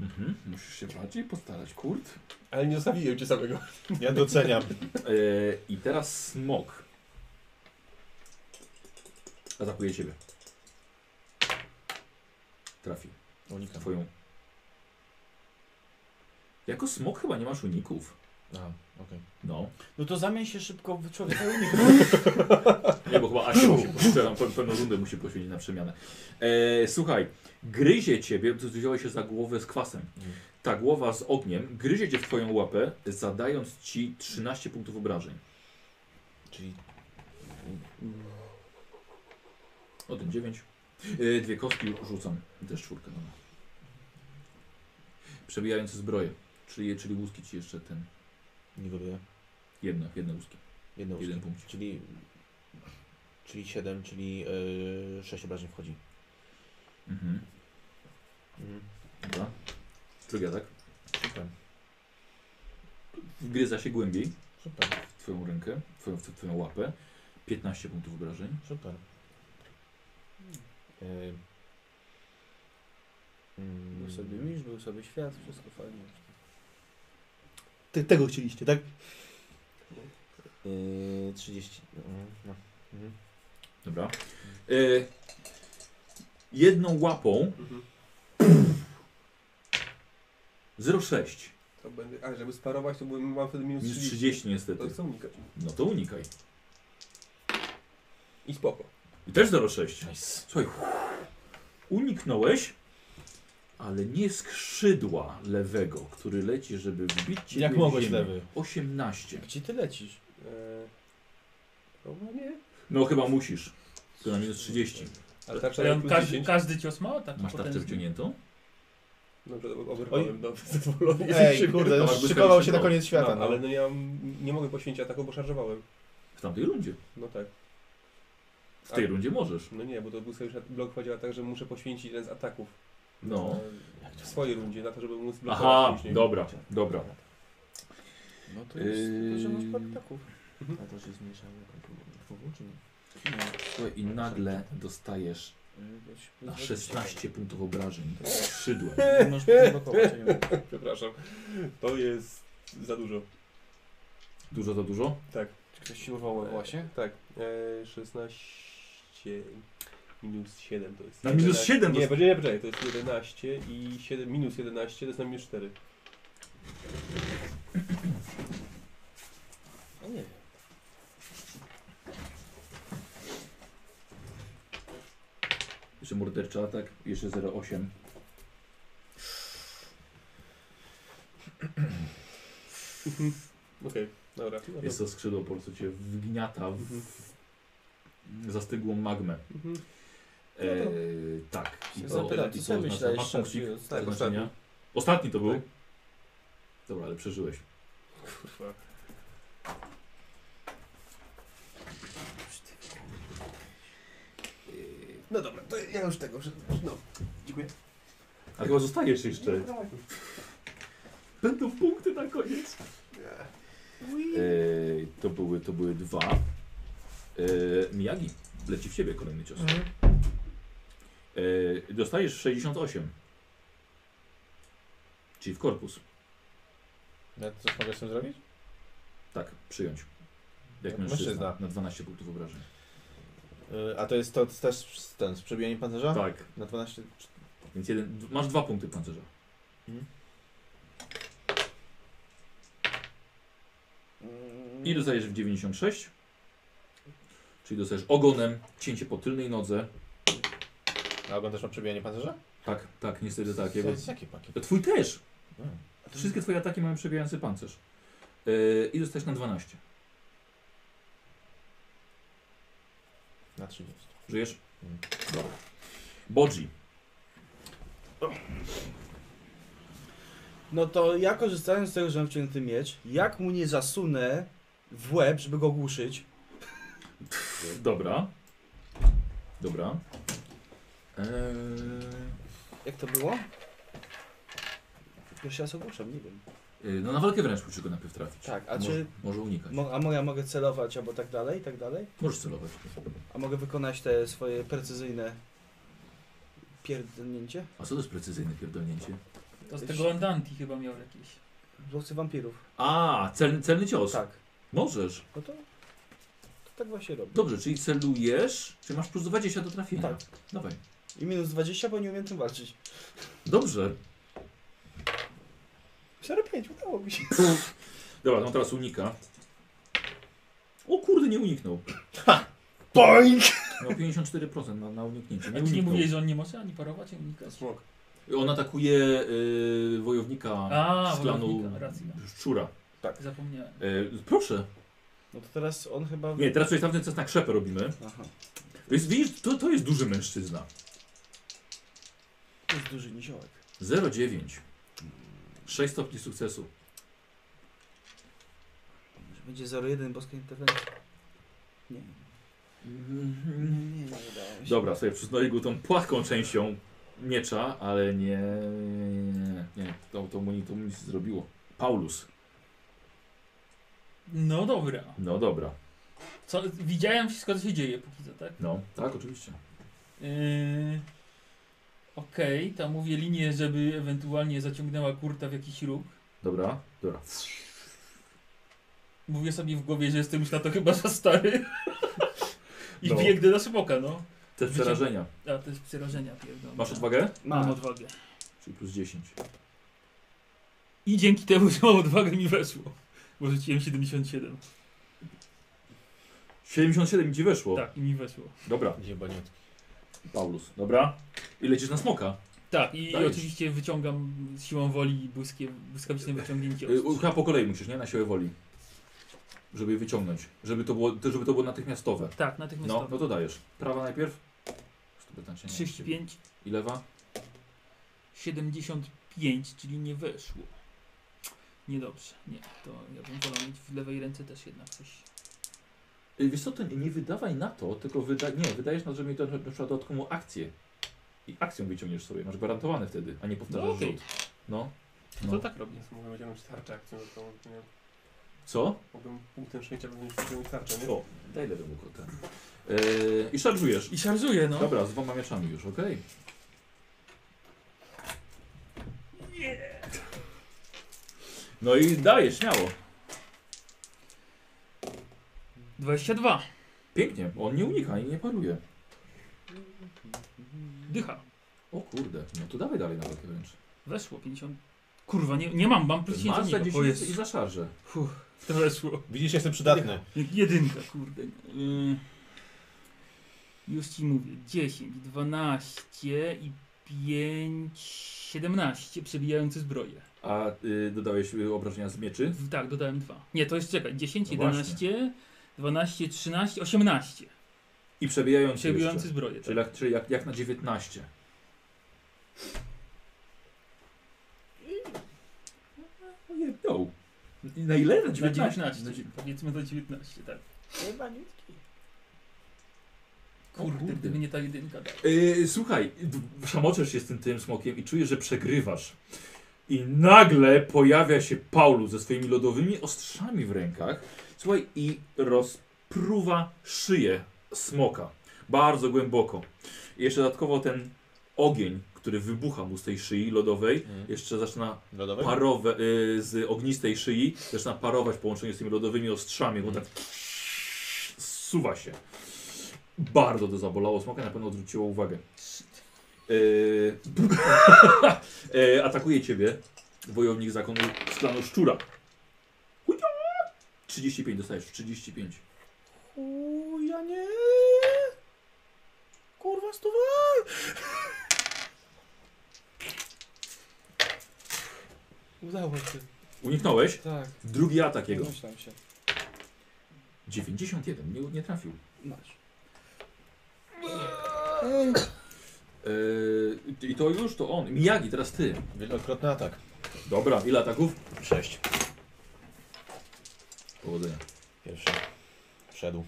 Speaker 1: Mhm, musisz się bardziej postarać, kurt.
Speaker 2: Ale nie zostawiłem cię samego.
Speaker 4: Ja doceniam.
Speaker 1: E, I teraz smok. Atakuje ciebie. Trafi.
Speaker 4: Unikam.
Speaker 1: Twoją. Jako smok chyba nie masz uników.
Speaker 4: Aha, okej.
Speaker 1: No.
Speaker 3: No to zamień się szybko w człowieka i uniknij.
Speaker 1: Nie, bo chyba Asia musi poszczeram, pewną rundę musi poświęcić na przemianę. E, słuchaj, gryzie ciebie, ty wziąłeś się za głowę z kwasem.
Speaker 4: Mhm.
Speaker 1: Ta głowa z ogniem gryzie cię w twoją łapę, zadając ci 13 punktów obrażeń.
Speaker 4: Czyli
Speaker 1: O tym 9. Yy, dwie kostki rzucam. Też czwórkę, dobra. Przebijające zbroje. Czyli, czyli łuski ci jeszcze ten.
Speaker 4: nie dobiję.
Speaker 1: Jedno, jedne łuski.
Speaker 4: Jedno
Speaker 1: Jeden
Speaker 4: łuski.
Speaker 1: punkt.
Speaker 4: Czyli... Czyli 7, czyli 6 obrażeń wchodzi.
Speaker 1: Mhm.
Speaker 4: Mhm.
Speaker 1: Dobra. tak? Drugi atak.
Speaker 4: Super.
Speaker 1: Wgryza się głębiej
Speaker 4: Super.
Speaker 1: w twoją rękę, w twoją, w twoją łapę. 15 punktów obrażeń.
Speaker 4: Super. Yy. mm. No
Speaker 3: Był sobie misz, był sobie świat, wszystko fajnie.
Speaker 4: Te, tego chcieliście, tak? Yy, 30. mm, No. Mhm.
Speaker 1: Dobra. Yy, jedną łapą
Speaker 2: Mhm.
Speaker 1: 0,6.
Speaker 2: To będę, a żeby sparować, to byłem, mam wtedy minus
Speaker 1: Minus
Speaker 2: 30.
Speaker 1: 30
Speaker 2: To
Speaker 1: niestety.
Speaker 2: chcę unikać.
Speaker 1: No to unikaj.
Speaker 2: I spoko.
Speaker 1: I też 0,6.
Speaker 4: Nice.
Speaker 1: Słuchaj, uniknąłeś, ale nie skrzydła lewego, który leci, żeby wbić cię
Speaker 4: Jak
Speaker 1: w
Speaker 4: mogłeś
Speaker 1: ziemię.
Speaker 4: lewy?
Speaker 1: 18.
Speaker 3: Gdzie ty lecisz?
Speaker 2: E, no bo nie.
Speaker 1: No chyba musisz. To na minus 30.
Speaker 4: No
Speaker 2: Ale tarcza
Speaker 5: Ja,
Speaker 2: daje plus
Speaker 5: każdy,
Speaker 2: 10.
Speaker 5: każdy cios ma taki
Speaker 1: Masz tak tarczę
Speaker 5: potężny.
Speaker 1: wciągniętą?
Speaker 2: Dobrze, to obrywałem, no, zadowolony.
Speaker 4: Ej, kurde,
Speaker 1: Tomasz
Speaker 4: już
Speaker 1: Błyskawicz
Speaker 4: szykował się
Speaker 1: szybko.
Speaker 4: na koniec świata.
Speaker 2: No, ale no ja m- nie mogę poświęcić ataku, bo szarżowałem.
Speaker 1: W tamtej rundzie.
Speaker 2: No tak.
Speaker 1: W tej
Speaker 4: Tak.
Speaker 2: A-
Speaker 1: rundzie możesz.
Speaker 2: No nie, bo to był sobie już blok chodziła tak, że muszę poświęcić jeden z ataków.
Speaker 1: No.
Speaker 2: Na- W swojej rundzie, na to, żeby móc
Speaker 4: No
Speaker 2: blokować
Speaker 1: Aha,
Speaker 2: później.
Speaker 1: dobra, dobra.
Speaker 3: No to
Speaker 1: jest-
Speaker 3: jest
Speaker 1: to
Speaker 3: yy...
Speaker 1: że masz
Speaker 3: masz
Speaker 1: parę
Speaker 3: parę
Speaker 4: A to się zmniejszało czy nie?
Speaker 3: no.
Speaker 1: Słuchaj, I nagle dostajesz
Speaker 3: Yy,
Speaker 4: No
Speaker 1: na 16 punktów obrażeń skrzydłem.
Speaker 3: Nie możesz blokować, nie wiem.
Speaker 2: Przepraszam. To jest za dużo.
Speaker 1: Dużo za dużo?
Speaker 2: Tak,
Speaker 3: Czy ktoś ci urwał właśnie?
Speaker 2: tak. E, 16 minus 7 to jest.
Speaker 1: Na minus
Speaker 2: 11.
Speaker 1: 7
Speaker 2: Nie,
Speaker 1: dost-
Speaker 2: poczekaj, poczekaj, to jest 11 i 7 minus 11 to jest na minus 4.
Speaker 3: No nie wiem.
Speaker 1: Jeszcze morderczy atak, jeszcze 0,8.
Speaker 2: Okej, dobra.
Speaker 1: Jest to skrzydło, po prostu cię wgniata w
Speaker 2: Mhm.
Speaker 1: zastygłą magmę.
Speaker 2: Mhm.
Speaker 1: E,
Speaker 2: No
Speaker 1: tak. I
Speaker 3: Się
Speaker 1: to,
Speaker 3: zapytam,
Speaker 1: i
Speaker 3: co
Speaker 1: to
Speaker 3: sobie
Speaker 1: oznacza,
Speaker 3: myślałeś,
Speaker 1: masz punkcik
Speaker 3: Szarpie?
Speaker 2: Tak,
Speaker 1: zakończenia.
Speaker 2: ostatni.
Speaker 1: Ostatni to był?
Speaker 2: Tak.
Speaker 1: Dobra, ale przeżyłeś.
Speaker 2: Kurwa. No dobra, to ja już tego, że- no. Dziękuję.
Speaker 1: A chyba zostajesz jeszcze.
Speaker 2: Dawaj.
Speaker 1: Będą punkty na koniec. E, to, były, to były dwa. E, Miyagi leci w ciebie kolejny cios.
Speaker 2: Mhm.
Speaker 1: E, dostajesz 68. Czyli w korpus.
Speaker 4: Ja coś mogę z tym zrobić?
Speaker 1: Tak, przyjąć. Jak
Speaker 4: Jak
Speaker 1: mężczyzna.
Speaker 4: Tak, mężczyzna.
Speaker 1: Na 12 punktów obrażeń.
Speaker 4: Yy, a to jest to też z- ten, z przebijaniem pancerza?
Speaker 1: Tak.
Speaker 4: Na 12?
Speaker 1: Więc jeden, d- masz dwa punkty pancerza. I dostajesz w 96. Czyli dostajesz ogonem, cięcie po tylnej nodze.
Speaker 4: A oglądasz na przebijanie pancerza?
Speaker 1: Tak, tak, niestety tak.
Speaker 4: Z-
Speaker 1: Jego...
Speaker 4: z- Jakie paki?
Speaker 1: Twój też!
Speaker 4: No. A.
Speaker 1: Wszystkie twoje ataki mają przebijający pancerz. Yy, I dostajesz na 12.
Speaker 4: Na 30.
Speaker 1: Żyjesz?
Speaker 4: Mm.
Speaker 1: Dobra. Bodzi.
Speaker 3: No to ja korzystając z tego, że mam wciągnięty miecz, jak mu nie zasunę w łeb, żeby go ogłuszyć,
Speaker 1: Dobra. Dobra. Eee,
Speaker 3: jak to było? Pierwszy raz ogłuszam, nie wiem.
Speaker 1: yy, no na walkę wręcz muszę go najpierw trafić.
Speaker 3: Tak, a
Speaker 1: może,
Speaker 3: czy...
Speaker 1: może unikać.
Speaker 3: Mo, a moja mogę celować albo tak dalej, i tak dalej?
Speaker 1: Możesz celować.
Speaker 3: A mogę wykonać te swoje precyzyjne pierdolnięcie?
Speaker 1: A co to jest precyzyjne pierdolnięcie?
Speaker 5: To z tego Andanti chyba miał jakieś.
Speaker 3: Włosy wampirów.
Speaker 1: A, cel, celny cios.
Speaker 3: Tak.
Speaker 1: Możesz.
Speaker 3: No to, to tak właśnie robię.
Speaker 1: Dobrze, czyli celujesz, czy masz plus 20 do trafienia.
Speaker 3: Tak.
Speaker 1: Dawaj.
Speaker 3: I minus 20, bo nie umiem tym walczyć.
Speaker 1: Dobrze.
Speaker 3: 45, udało mi się.
Speaker 1: Dobra, no teraz unika. O kurde, nie uniknął.
Speaker 4: Boing!
Speaker 1: Miał 54% na, na uniknięcie. Nie
Speaker 5: A ty nie
Speaker 1: uniknął.
Speaker 5: mówiłeś, że on nie może ani parować, ani unikać?
Speaker 2: Smok.
Speaker 1: On atakuje y, wojownika
Speaker 5: A,
Speaker 1: z klanu
Speaker 5: wojownika, racja.
Speaker 1: szczura.
Speaker 5: Zapomniałem.
Speaker 1: Y, proszę.
Speaker 3: No to teraz on chyba...
Speaker 1: Nie, teraz coś tamten czas na krzepę robimy.
Speaker 3: Aha.
Speaker 1: To jest, widzisz, to, to jest duży mężczyzna.
Speaker 3: To jest duży niziołek.
Speaker 1: 0,9. 6 stopni sukcesu.
Speaker 3: Może będzie 0,1 boska interwencja. Nie.
Speaker 5: Mhm.
Speaker 3: Nie, nie udało mi się.
Speaker 1: Dobra, sobie przysnoi go tą płatką częścią miecza, ale nie. Nie, nie, nie, nie. To, to, mu, ni- to mu nic nie zrobiło. Paulus.
Speaker 5: No dobra.
Speaker 1: No dobra.
Speaker 5: Co, widziałem wszystko, co się dzieje póki co, tak?
Speaker 1: No, tak, oczywiście.
Speaker 5: Yy, Okej, tam mówię linię, żeby ewentualnie zaciągnęła kurta w jakiś róg.
Speaker 1: Dobra, dobra.
Speaker 5: Mówię sobie w głowie, że jestem już na to chyba za stary. I
Speaker 1: No.
Speaker 5: biegnę na smoka, no.
Speaker 1: Te
Speaker 5: Wycią-
Speaker 1: przerażenia.
Speaker 5: A to jest przerażenia pierdolone.
Speaker 1: Masz odwagę?
Speaker 5: Mam
Speaker 3: Mam.
Speaker 5: odwagę.
Speaker 1: Czyli plus 10.
Speaker 5: I dzięki temu, że mam odwagę, mi weszło. Bo rzuciłem 77.
Speaker 1: 77 ci weszło.
Speaker 5: Tak, i mi weszło.
Speaker 1: Dobra,
Speaker 4: Jebaniutki.
Speaker 1: Paulus. Dobra. I lecisz na smoka.
Speaker 5: Tak, i, i
Speaker 1: Dajesz.
Speaker 5: oczywiście wyciągam siłą woli i błyskiem, błyskawiczne wyciągnięcie
Speaker 1: Y, u-
Speaker 5: ostrza.
Speaker 1: Chyba po kolei musisz, nie? Na siłę woli. Żeby je wyciągnąć. Żeby to było, żeby to było natychmiastowe.
Speaker 5: Tak,
Speaker 1: No,
Speaker 5: natychmiastowo.
Speaker 1: no to dajesz. Prawa najpierw. Już to pytam cię, nie?
Speaker 5: 35,
Speaker 1: I lewa?
Speaker 5: 75, czyli nie weszło. Niedobrze, nie. To ja bym wolał mieć w lewej ręce też jednak coś.
Speaker 1: Y, Wiesz co, to nie, nie wydawaj na to, tylko wyda... nie, wydajesz na to, żeby mieć do- na przykład dodatkową akcję. I akcją wyciągniesz sobie, masz gwarantowane wtedy, a nie powtarzasz
Speaker 5: No, okej.
Speaker 1: rzut. No.
Speaker 5: No.
Speaker 1: No.
Speaker 5: To tak robię.
Speaker 2: Więc mogę wyciągnąć tarczę akcją, to nie wiem,
Speaker 1: Co?
Speaker 2: mógłbym punktem szczęścia pewnie wyciągnąć tarczę, nie?
Speaker 1: O, daj lewemu kotę. Yy, I szarżujesz.
Speaker 5: I szarżuję, no.
Speaker 1: Dobra, z dwoma mieczami już, okej.
Speaker 5: Nie.
Speaker 1: No i dajesz, śmiało.
Speaker 5: 22.
Speaker 1: Pięknie, on nie unika ani nie paruje.
Speaker 5: Dycha.
Speaker 1: O kurde, no to dawaj dalej na walkę wręcz.
Speaker 5: Weszło 50. Kurwa, nie, nie mam, mam plus no 10
Speaker 1: Masz za
Speaker 5: do niego. O
Speaker 1: 10 i
Speaker 5: jest.
Speaker 1: za szarżę.
Speaker 5: To weszło.
Speaker 4: Widzisz, jestem przydatny.
Speaker 5: Jedynka, kurde. Yy, już ci mówię. 10, 12 i 5, 17 przebijające zbroje.
Speaker 1: A y, dodałeś y, obrażenia z mieczy?
Speaker 5: W- Tak, dodałem dwa. Nie, to jest czekaj. 10,
Speaker 1: No
Speaker 5: 11, 12, 13, 18.
Speaker 1: I przebijający
Speaker 5: Przebijący
Speaker 1: jeszcze.
Speaker 5: zbroję.
Speaker 1: Czyli,
Speaker 5: Tak.
Speaker 1: jak, czyli jak, jak na 19. No. Na ile? Na
Speaker 5: Na
Speaker 1: 19.
Speaker 5: 19.
Speaker 1: Na dziewię-
Speaker 5: No Powiedzmy do 19, tak.
Speaker 3: Jebaniutki.
Speaker 5: Kurde,
Speaker 1: kurde.
Speaker 5: gdyby nie ta jedynka. Tak.
Speaker 1: Yy, słuchaj, d- szamoczesz się z tym, tym smokiem i czujesz, że przegrywasz. I nagle pojawia się Paulus ze swoimi lodowymi ostrzami w rękach. Słuchaj, i rozpruwa szyję smoka. Bardzo głęboko. I jeszcze dodatkowo ten ogień, który wybucha mu z tej szyi lodowej, jeszcze zaczyna
Speaker 4: Mm. Lodowy?
Speaker 1: parowe, y, z ognistej szyi, zaczyna parować w połączeniu z tymi lodowymi ostrzami, bo tak zsuwa się. Bardzo to zabolało smoka, na pewno odwróciło uwagę. Yy, yy, atakuje ciebie wojownik zakonu z klanu szczura. Chuja! 35 dostajesz, 35.
Speaker 4: Chuja nie! Kurwa stuwa!
Speaker 3: Udało się.
Speaker 1: Uniknąłeś?
Speaker 3: Tak,
Speaker 1: Drugi atak jego.
Speaker 3: domyślam się.
Speaker 1: 91, nie, nie trafił.
Speaker 3: Masz.
Speaker 1: Yy, I to już, to on. Miyagi, teraz ty.
Speaker 4: Wielokrotny atak.
Speaker 1: Dobra, ile ataków?
Speaker 4: 6.
Speaker 1: Powodzenia.
Speaker 4: Pierwszy. Wszedł.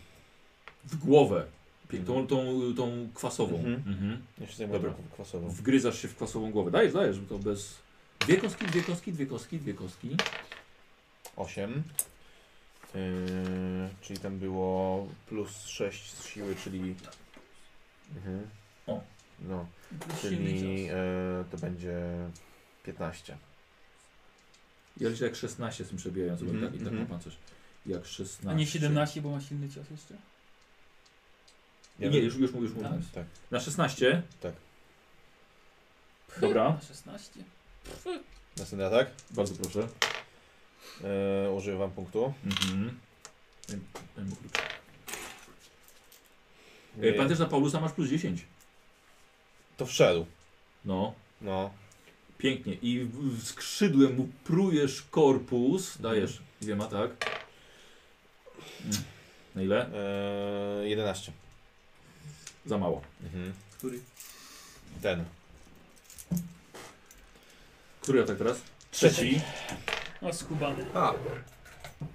Speaker 1: W głowę. Pię- Tą, tą, tą kwasową.
Speaker 4: Mhm.
Speaker 1: Mhm.
Speaker 4: Jeszcze zajmuję
Speaker 1: Dobra.
Speaker 4: taką kwasową.
Speaker 1: Wgryzasz się w kwasową głowę. Dajesz, dajesz, bo to bez... Dwie kostki, dwie kostki, dwie kostki, dwie kostki.
Speaker 4: 8. Yy, czyli tam było plus 6 z siły, czyli. Mhm.
Speaker 1: O.
Speaker 4: No,
Speaker 5: Silny
Speaker 4: czyli
Speaker 5: cios.
Speaker 4: e, to będzie 15.
Speaker 1: Ja liczę jak 16 z tym przebijającym, mm
Speaker 4: Mhm,
Speaker 1: tak, i tak
Speaker 4: mhm.
Speaker 1: ma pan coś. Jak 16.
Speaker 5: A nie 17, bo ma silny cios jeszcze?
Speaker 1: Nie, nie już, już, mu- już mówię.
Speaker 5: Tak.
Speaker 4: Tak.
Speaker 1: Na 16?
Speaker 4: Tak.
Speaker 1: Dobra,
Speaker 5: Na 16.
Speaker 4: Następny atak.
Speaker 1: bardzo proszę.
Speaker 4: E, używam punktu.
Speaker 1: Mhm. E, Pan też na Paulusa masz plus 10.
Speaker 4: To wszedł.
Speaker 1: No,
Speaker 4: No.
Speaker 1: pięknie. I w- w skrzydłem mu prujesz korpus. Dajesz dwiema, tak? Mm. Na ile?
Speaker 4: E, 11.
Speaker 1: Za mało.
Speaker 4: Mhm.
Speaker 2: Który?
Speaker 4: Ten.
Speaker 1: Który atak teraz?
Speaker 4: Trzeci.
Speaker 5: O, No, skubany.
Speaker 2: A,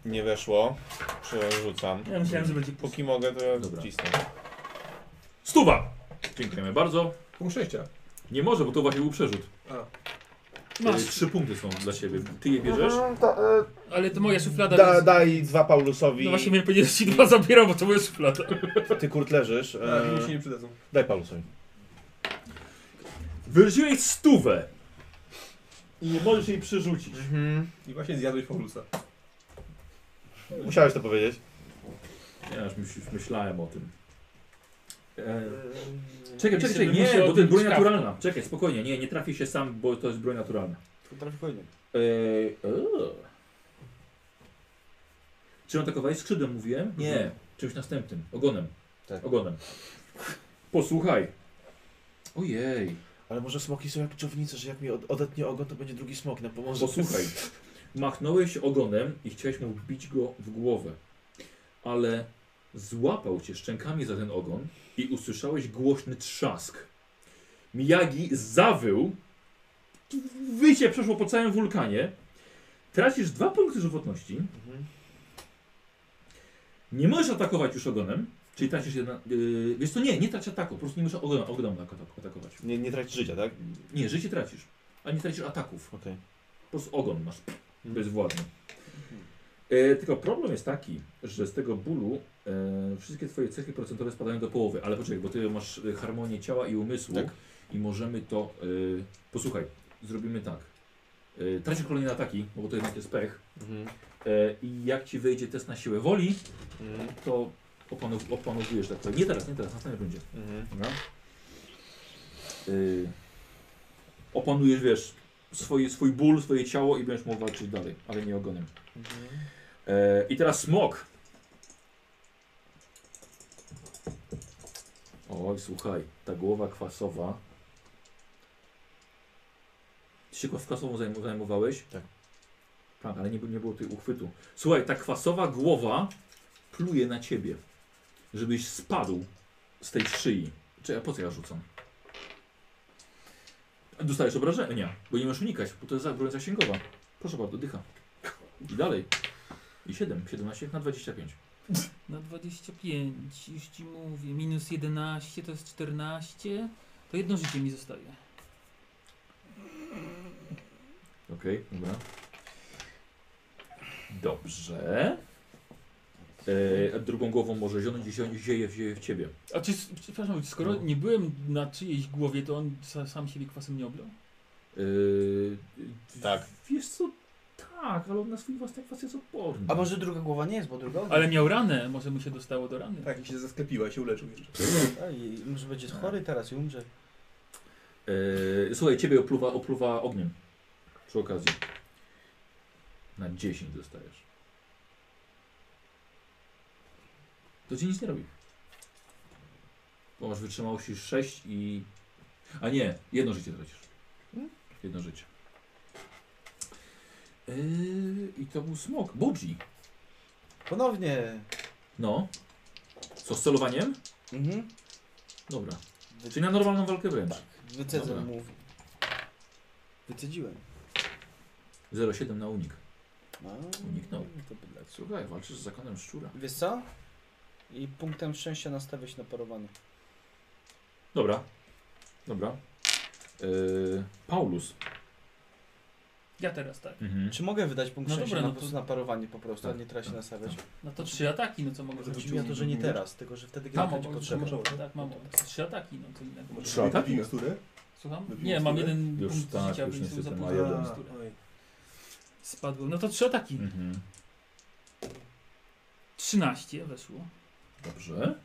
Speaker 4: Nie weszło. Przerzucam.
Speaker 5: Ja myślałem, że będzie pusty.
Speaker 4: Póki mogę, to ja
Speaker 1: Dobra.
Speaker 4: wcisnę.
Speaker 1: Stuwa! Dziękujemy bardzo.
Speaker 2: punkt szczęścia.
Speaker 1: Nie może, bo to właśnie był przerzut.
Speaker 2: A,
Speaker 1: E,
Speaker 5: Masz.
Speaker 1: Trzy punkty są dla siebie. Ty je bierzesz?
Speaker 5: Ale to moja szuflada.
Speaker 4: Da,
Speaker 5: jest-
Speaker 4: daj dwa Paulusowi.
Speaker 5: No właśnie miałem powiedzieć, że ci dwa zabiera, bo to moja szuflada.
Speaker 4: Ty kurt leżysz.
Speaker 2: a mi
Speaker 4: E,
Speaker 2: się nie przydadzą.
Speaker 4: daj Paulusowi.
Speaker 1: Wyrzuciłeś stówę i nie możesz jej przerzucić.
Speaker 4: Mhm.
Speaker 2: I właśnie zjadłeś Paulusa.
Speaker 4: Musiałeś to powiedzieć.
Speaker 1: Ja już myśl, myślałem o tym. E,
Speaker 5: Czekaj,
Speaker 1: czekaj, czekaj,
Speaker 5: czekaj, muszę
Speaker 1: nie, bo to
Speaker 5: odbić
Speaker 1: jest broń
Speaker 5: kawkę.
Speaker 1: naturalna. Czekaj, spokojnie, nie, nie trafi się sam, bo to jest broń naturalna.
Speaker 3: Potrafi fajnie.
Speaker 1: E, o. Czy atakowałeś skrzydłem, mówiłem? Nie, czymś następnym, ogonem.
Speaker 4: Tak.
Speaker 1: Ogonem. Posłuchaj. Ojej,
Speaker 4: Ale może smoki są jak czownice, że jak mi od, odetnie ogon, to będzie drugi smok nam pomoże.
Speaker 1: posłuchaj. Machnąłeś ogonem i chciałeś mu wbić go w głowę, ale złapał cię szczękami za ten ogon i usłyszałeś głośny trzask. Miyagi zawył, wycie przeszło po całym wulkanie, tracisz dwa punkty żywotności,
Speaker 4: Mhm.
Speaker 1: nie możesz atakować już ogonem, czyli tracisz jedna... Yy, wiesz co, nie, nie trać ataku, po prostu nie możesz ogonem, ogonem atak- atakować.
Speaker 4: Nie, nie tracisz życia, tak?
Speaker 1: Nie, życie tracisz, a nie tracisz ataków.
Speaker 4: Okej. Mhm.
Speaker 1: Po prostu ogon masz. To jest władny. E, tylko problem jest taki, że z tego bólu e, wszystkie twoje cechy procentowe spadają do połowy. Ale poczekaj, bo ty masz e, harmonię ciała i umysłu
Speaker 4: Tak.
Speaker 1: i możemy to... E, posłuchaj, zrobimy tak. E, tracisz kolejne ataki, no bo to jednak jest pech.
Speaker 4: Mhm.
Speaker 1: E, I jak ci wyjdzie test na siłę woli,
Speaker 4: Mhm.
Speaker 1: to opanow, opanowujesz tak powiem. Nie teraz, nie teraz, na następnym będzie.
Speaker 4: Mhm.
Speaker 1: Dobra. Y, opanujesz, wiesz, swoje, swój ból, swoje ciało i będziesz mógł walczyć dalej, ale nie ogonem. E, I teraz smok. Oj, słuchaj, ta głowa kwasowa. Ty się kwasową zajm- zajmowałeś?
Speaker 4: Tak.
Speaker 1: Tak, ale nie, nie było tej uchwytu. Słuchaj, ta kwasowa głowa pluje na ciebie, żebyś spadł z tej szyi. Czekaj, po co ja rzucam? Dostajesz obrażenia, bo nie możesz unikać, bo to jest za- broń zasięgowa. Proszę bardzo, dycha. I dalej. I 7, 17 na 25.
Speaker 5: Na 25, już ci mówię. Minus 11 to jest 14. To jedno życie mi zostaje.
Speaker 1: Okej, dobra. Dobrze. E, a drugą głową może zionąć i zio- zieje, zieje w ciebie.
Speaker 5: A czy, przepraszam, skoro
Speaker 1: No.
Speaker 5: nie byłem na czyjejś głowie, to on sa, sam siebie kwasem nie oblał?
Speaker 1: E,
Speaker 4: Tak.
Speaker 1: Wiesz co, tak, ale on na swój własny kwas jest odporny.
Speaker 3: A może druga głowa nie jest, bo druga
Speaker 5: Ale miał ranę, może mu się dostało do rany.
Speaker 2: Tak, i się zasklepiła, się uleczył jeszcze.
Speaker 3: Ej, może będzie chory teraz i umrze.
Speaker 1: Eee, słuchaj, ciebie opluwa, opluwa ogniem. Przy okazji. Na 10 dostajesz. To ci nic nie robi. Bo masz wytrzymałości 6 i... A nie, jedno życie tracisz. Hmm? Jedno życie. Eee, I to był smok. Budzi.
Speaker 6: Ponownie.
Speaker 1: No. Co z celowaniem?
Speaker 3: Mhm.
Speaker 1: Dobra. Czyli na normalną walkę wręcz. Dobra.
Speaker 6: Wycedzę mu. Wycedziłem.
Speaker 1: 0,7 na unik.
Speaker 6: No,
Speaker 1: Uniknął.
Speaker 6: To bydlak.
Speaker 1: Słuchaj, walczysz z zakonem szczura.
Speaker 3: Wiesz co? I punktem szczęścia nastawię się na parowany.
Speaker 1: Dobra. Dobra. Yy, Paulus.
Speaker 5: Ja teraz tak.
Speaker 1: Mhm.
Speaker 6: Czy mogę wydać punkt
Speaker 5: No
Speaker 6: szczęścia
Speaker 5: dobra,
Speaker 6: na,
Speaker 5: no
Speaker 6: po
Speaker 5: to-
Speaker 6: prostu na parowanie po prostu,
Speaker 1: Tak,
Speaker 6: a nie trzeba się
Speaker 1: tak,
Speaker 6: nastawiać?
Speaker 5: No to trzy ataki, no co mogę zrobić?
Speaker 6: Chodzi mi o to, że nie teraz, tylko że wtedy
Speaker 5: Tam
Speaker 6: gra będzie
Speaker 5: obok-
Speaker 6: potrzebna.
Speaker 5: obok- Tak, mam obok. trzy ataki, no co innego.
Speaker 2: Może
Speaker 1: Trzy ataki?
Speaker 2: wypij miksturę?
Speaker 5: Słucham?
Speaker 2: Wypiłeś
Speaker 5: Nie, mam
Speaker 2: tyle?
Speaker 5: jeden
Speaker 1: Już
Speaker 5: punkt
Speaker 1: tak,
Speaker 5: życia,
Speaker 1: już
Speaker 5: więc jestem
Speaker 1: niestety
Speaker 5: za
Speaker 1: ma
Speaker 5: pół
Speaker 1: jeden.
Speaker 5: na
Speaker 2: A,
Speaker 5: miksturę.
Speaker 2: oj.
Speaker 5: Spadłem. No to trzy ataki.
Speaker 1: Mhm.
Speaker 5: 13 weszło.
Speaker 1: Dobrze.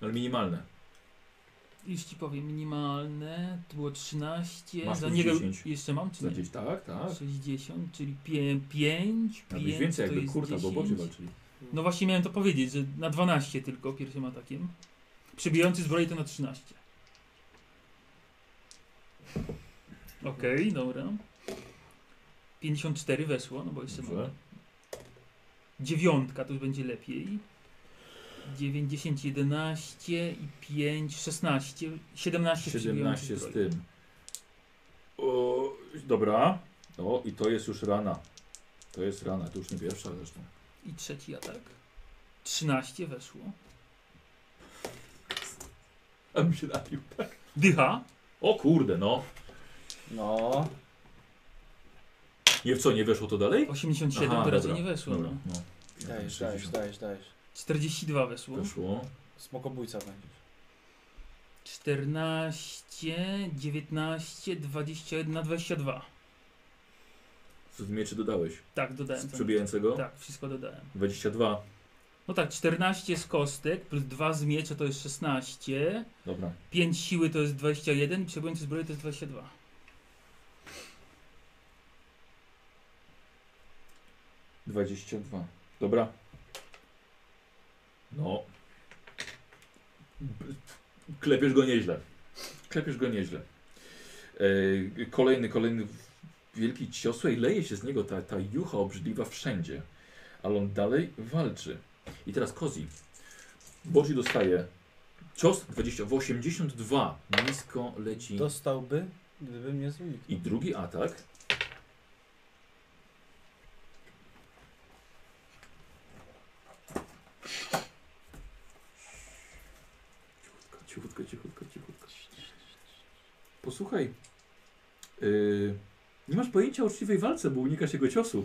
Speaker 1: No, Ale minimalne.
Speaker 5: Już ci powiem, minimalne to było 13.
Speaker 1: Masz
Speaker 5: za
Speaker 1: plus
Speaker 5: niego
Speaker 1: 10.
Speaker 5: jeszcze mam, czy
Speaker 1: Za
Speaker 5: nie?
Speaker 1: gdzieś tak, tak.
Speaker 5: 60, czyli 5, 5,
Speaker 1: A być więcej
Speaker 5: to
Speaker 1: jakby
Speaker 5: jest
Speaker 1: kurta, bo
Speaker 5: 10.
Speaker 1: bocie walczyli.
Speaker 5: No właśnie miałem to powiedzieć, że na 12 tylko pierwszym atakiem. Przybijający zbroję to na 13. Okej, dobra. 54 weszło, no bo jeszcze
Speaker 1: Dobrze.
Speaker 5: mamy. Dziewiątka, to już będzie lepiej. 9, 10, 11 i 5, 16,
Speaker 1: 17
Speaker 5: 17 przybijający
Speaker 1: z
Speaker 5: zbroję.
Speaker 1: tym. O, dobra. O, i to jest już rana. To jest rana, to już nie pierwsza zresztą.
Speaker 5: I trzeci atak. 13 weszło.
Speaker 1: A mi się napił.
Speaker 5: Dycha.
Speaker 1: O kurde, no.
Speaker 3: No.
Speaker 1: Nie w co, nie weszło to dalej?
Speaker 5: 87
Speaker 1: Aha,
Speaker 5: to raczej
Speaker 1: dobra,
Speaker 5: nie weszło.
Speaker 1: Dobra,
Speaker 5: No.
Speaker 1: no.
Speaker 3: Dajesz, dajesz,
Speaker 1: 60.
Speaker 3: dajesz, dajesz.
Speaker 5: 42 weszło.
Speaker 1: Weszło.
Speaker 3: Smokobójca będziesz.
Speaker 5: 14, 19, 21, 22.
Speaker 1: Co w mieczy dodałeś?
Speaker 5: Tak, dodałem.
Speaker 1: Z
Speaker 5: ten-
Speaker 1: przebijającego?
Speaker 5: Tak, wszystko dodałem.
Speaker 1: 22.
Speaker 5: No tak, 14 z kostek, plus 2 z miecza to jest 16,
Speaker 1: Dobra.
Speaker 5: 5 siły to jest 21, przebłędy zbroi to jest 22.
Speaker 1: dwadzieścia dwa Dobra. No. B- Klepiesz go nieźle. Klepiesz go nieźle. Yy, kolejny, kolejny wielki cios. Słuchaj, leje się z niego ta, ta jucha obrzydliwa wszędzie. Ale on dalej walczy. I teraz Kozi. Boci dostaje cios 20, w 82. Nisko leci.
Speaker 3: Dostałby, gdyby mnie znikł.
Speaker 1: I drugi atak. Cichutko, cichutko, cichutko, cichutko. Posłuchaj. Yy, nie masz pojęcia o uczciwej walce, bo unikasz jego ciosu.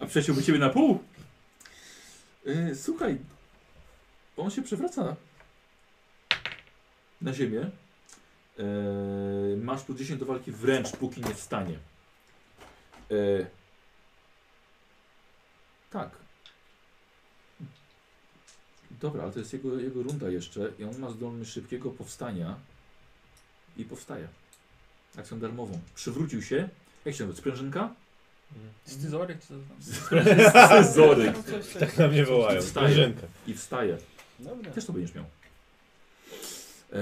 Speaker 1: A przeciąłby ciebie na pół. Yy, słuchaj. On się przewraca na ziemię. Eee, masz plus 10 do walki wręcz, póki nie wstanie. Eee, tak. Dobra, ale to jest jego, jego runda jeszcze i on ma zdolny szybkiego powstania i powstaje. Akcją darmową. Przywrócił się. Jak się nazywa? Sprężynka?
Speaker 5: Scyzoryk czy
Speaker 1: Zoryk.
Speaker 6: No,
Speaker 4: Tak na mnie wołają.
Speaker 1: Wstaje.
Speaker 4: Rzynka.
Speaker 1: I wstaje.
Speaker 3: Dobra.
Speaker 1: Też to będziesz miał. Eee,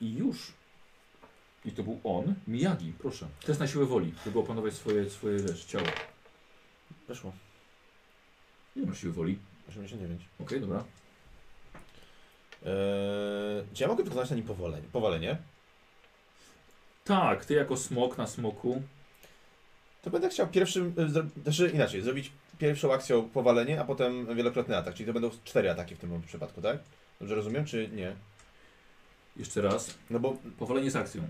Speaker 1: I już. I to był on. Miyagi, proszę. Test na siłę woli, żeby opanować swoje, swoje rzecz, ciało.
Speaker 4: Weszło.
Speaker 1: Ile masz siły woli?
Speaker 4: 89.
Speaker 1: Okej, dobra.
Speaker 4: Eee, czy ja mogę wykonać na nim powolenie? powalenie?
Speaker 1: Tak, ty jako smok na smoku.
Speaker 4: To będę chciał pierwszym, e, zro... znaczy inaczej, zrobić pierwszą akcją powalenie, a potem wielokrotny atak, czyli to będą cztery ataki w tym przypadku, tak? Dobrze rozumiem, czy nie?
Speaker 1: Jeszcze raz.
Speaker 4: No bo,
Speaker 1: Powolenie z akcją.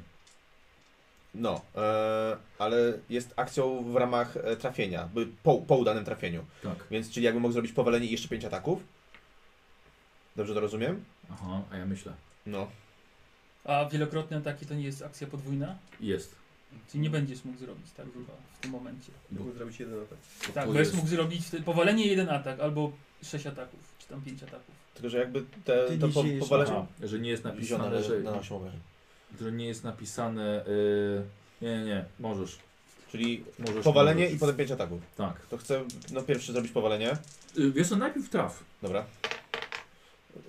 Speaker 4: no, e, ale jest akcją w ramach e, trafienia, by- po, po udanym trafieniu,
Speaker 1: Tak.
Speaker 4: więc czyli jakbym mógł zrobić powalenie i jeszcze pięć ataków? Dobrze to rozumiem?
Speaker 1: Aha, a ja myślę.
Speaker 4: No.
Speaker 5: A wielokrotne ataki to nie jest akcja podwójna?
Speaker 1: Jest.
Speaker 5: Czyli nie będziesz mógł zrobić tak chyba w tym momencie.
Speaker 2: Mogę zrobić jeden atak.
Speaker 1: Bo
Speaker 5: Tak,
Speaker 1: to
Speaker 5: bo jest
Speaker 1: jest
Speaker 5: mógł zrobić w te- powalenie jeden atak albo sześć ataków. tam pięć ataków.
Speaker 4: Tylko, że jakby te,
Speaker 6: Ty
Speaker 4: to
Speaker 6: nie
Speaker 4: po,
Speaker 6: siejesz
Speaker 4: powalenie
Speaker 1: Aha, tak, że nie jest
Speaker 4: ziona
Speaker 1: napisane,
Speaker 4: na,
Speaker 1: że, no.
Speaker 4: na naszą obrażeń.
Speaker 1: że nie jest napisane. y, Nie, nie, nie, możesz.
Speaker 4: Czyli
Speaker 1: możesz
Speaker 4: powalenie
Speaker 1: możesz.
Speaker 4: i potem pięć ataków.
Speaker 1: Tak.
Speaker 4: To chcę no pierwszy zrobić powalenie.
Speaker 1: Y, Wiesz, co, najpierw traf.
Speaker 4: Dobra.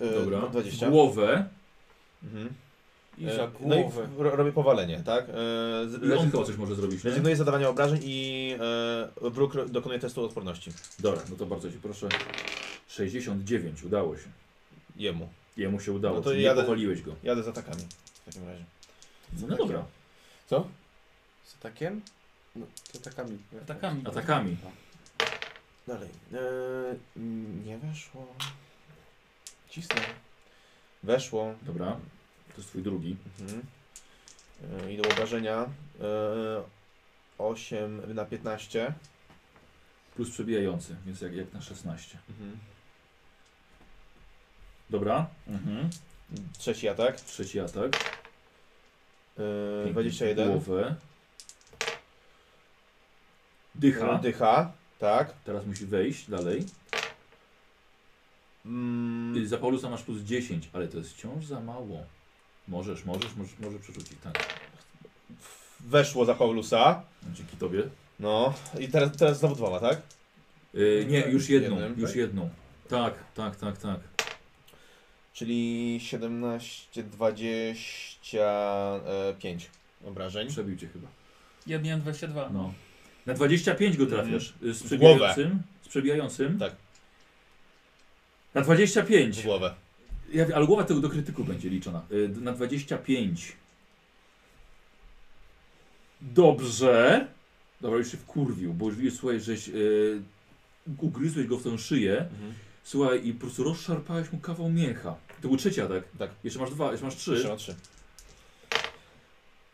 Speaker 4: E,
Speaker 1: Dobra.
Speaker 4: 20.
Speaker 1: Głowę
Speaker 4: Mhm.
Speaker 3: I
Speaker 4: E,
Speaker 3: za
Speaker 4: no i
Speaker 3: głowę.
Speaker 4: w- ro- robię powalenie, tak? E, z-
Speaker 1: i on
Speaker 4: rezyg-
Speaker 1: chyba coś może zrobić. Nie?
Speaker 4: Rezygnuję z zadawania obrażeń i e, wróg ro- dokonuje testu odporności.
Speaker 1: Dobra, no to bardzo cię proszę. 69, udało się.
Speaker 4: Jemu.
Speaker 1: Jemu się udało,
Speaker 4: No to
Speaker 1: czyli
Speaker 4: jadę-
Speaker 1: nie powaliłeś go.
Speaker 4: Jadę z atakami w takim razie.
Speaker 1: No dobra,
Speaker 4: Co?
Speaker 6: Z atakiem? No, z atakami.
Speaker 5: Atakami.
Speaker 1: atakami.
Speaker 4: Dalej. E, mm, nie weszło. Cisnę. Weszło.
Speaker 1: Dobra, to jest twój drugi.
Speaker 4: Mhm. E, I do obrażenia. E, 8 na 15.
Speaker 1: Plus przebijający, więc jak, jak na 16.
Speaker 4: Mhm.
Speaker 1: Dobra, mhm.
Speaker 4: Trzeci atak.
Speaker 1: trzeci atak.
Speaker 4: E,
Speaker 1: Pięknie.
Speaker 4: 21.
Speaker 1: Głowę. Dycha.
Speaker 4: E, Dycha. Tak.
Speaker 1: Teraz musi wejść dalej.
Speaker 4: Mm,
Speaker 1: Y, Za Paulusa masz plus 10, ale to jest wciąż za mało. Możesz, możesz, możesz, może przerzucić, tak.
Speaker 4: weszło za Paulusa.
Speaker 1: Dzięki tobie.
Speaker 4: No. I teraz, teraz znowu dwoma, tak?
Speaker 1: Y, nie, już jedną,
Speaker 4: Jednym,
Speaker 1: już
Speaker 4: tak?
Speaker 1: jedną. Tak, tak, tak, tak.
Speaker 4: Czyli 17, 25 e, obrażeń.
Speaker 1: Przebił cię chyba.
Speaker 5: Ja miałem 22.
Speaker 1: No. Na 25 go trafiasz. y, Z
Speaker 4: Mm. W głowę.
Speaker 1: przebijającym. Z przebijającym.
Speaker 4: Tak.
Speaker 1: Na
Speaker 4: W
Speaker 1: 25.
Speaker 4: głowę.
Speaker 1: Ja, ale głowa tego do krytyku będzie liczona. Y, d- Na 25. Dobrze. Dobra, już się wkurwił, bo już słuchaj, żeś y, ugryzłeś go w tę szyję. Słuchaj, i po prostu rozszarpałeś mu kawał mięcha. To był trzeci atak.
Speaker 4: Tak.
Speaker 1: Jeszcze masz dwa, jeszcze masz
Speaker 4: Trzy
Speaker 1: trzy.
Speaker 4: na trzy.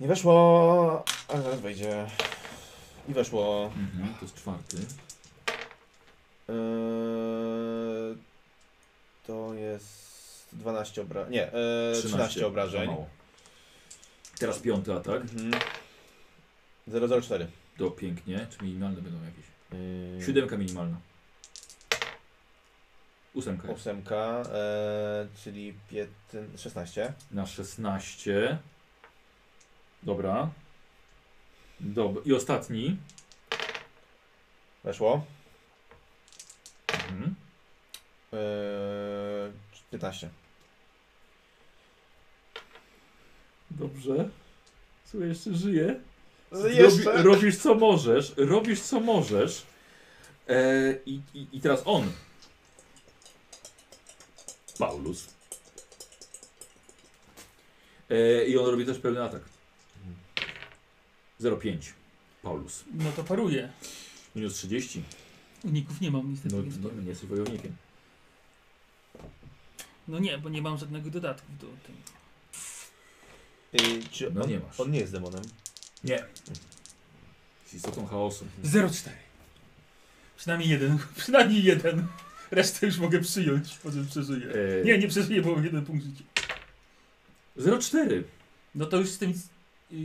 Speaker 4: Nie weszło, ale zaraz wejdzie. I weszło.
Speaker 1: Mhm, to jest czwarty.
Speaker 4: Eee, to jest 12 obrażeń. Nie, eee, 13,
Speaker 1: Za
Speaker 4: obrażeń.
Speaker 1: mało. Teraz piąty atak.
Speaker 4: Mhm. 004.
Speaker 1: To pięknie. Czy minimalne będą jakieś?
Speaker 4: Eee,
Speaker 1: Siódemka minimalna. Ósemka jest.
Speaker 4: Ósemka, eee, czyli 15, 16.
Speaker 1: Na 16. Dobra. Dobra. I ostatni.
Speaker 4: Weszło.
Speaker 1: Mhm.
Speaker 4: Eee, 15.
Speaker 1: Dobrze. Słuchaj, jeszcze żyje.
Speaker 2: No
Speaker 4: Jeszcze.
Speaker 1: robisz co możesz. Robisz co możesz. E, i, i, I teraz on. Paulus. E, I on robi też pełny atak. 0,5. Paulus.
Speaker 5: No to paruję.
Speaker 1: Minus 30.
Speaker 5: Uników nie mam niestety.
Speaker 1: No,
Speaker 5: No,
Speaker 1: no nie jesteś wojownikiem.
Speaker 5: no nie, bo nie mam żadnego dodatku do tego.
Speaker 4: Eee, czy
Speaker 1: No
Speaker 4: on,
Speaker 1: nie masz.
Speaker 4: on nie jest demonem.
Speaker 1: Z istotą chaosu.
Speaker 5: 0,4. Przynajmniej jeden. Przynajmniej jeden. Resztę już mogę przyjąć, może przeżyję.
Speaker 1: E,
Speaker 5: Nie, nie przeżyję, bo mam jeden punkt życia.
Speaker 1: 0,4.
Speaker 5: No to już z tym... Yy,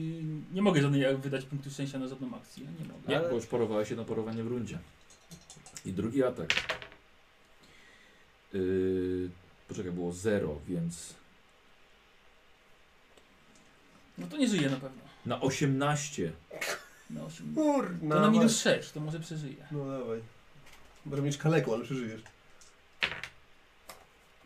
Speaker 5: nie mogę żadnej wydać punktu szczęścia na żadną akcję. no Nie mogę.
Speaker 1: Nie, bo już porowałeś jedno porowanie w rundzie. I drugi atak. Yy, poczekaj, było 0, więc
Speaker 5: No to nie żyję na pewno.
Speaker 1: na 18.
Speaker 5: Na 8.
Speaker 2: Kurna.
Speaker 5: To na minus 6, to może przeżyję.
Speaker 2: No dawaj. Będę mieć kaleko, ale przeżyjesz.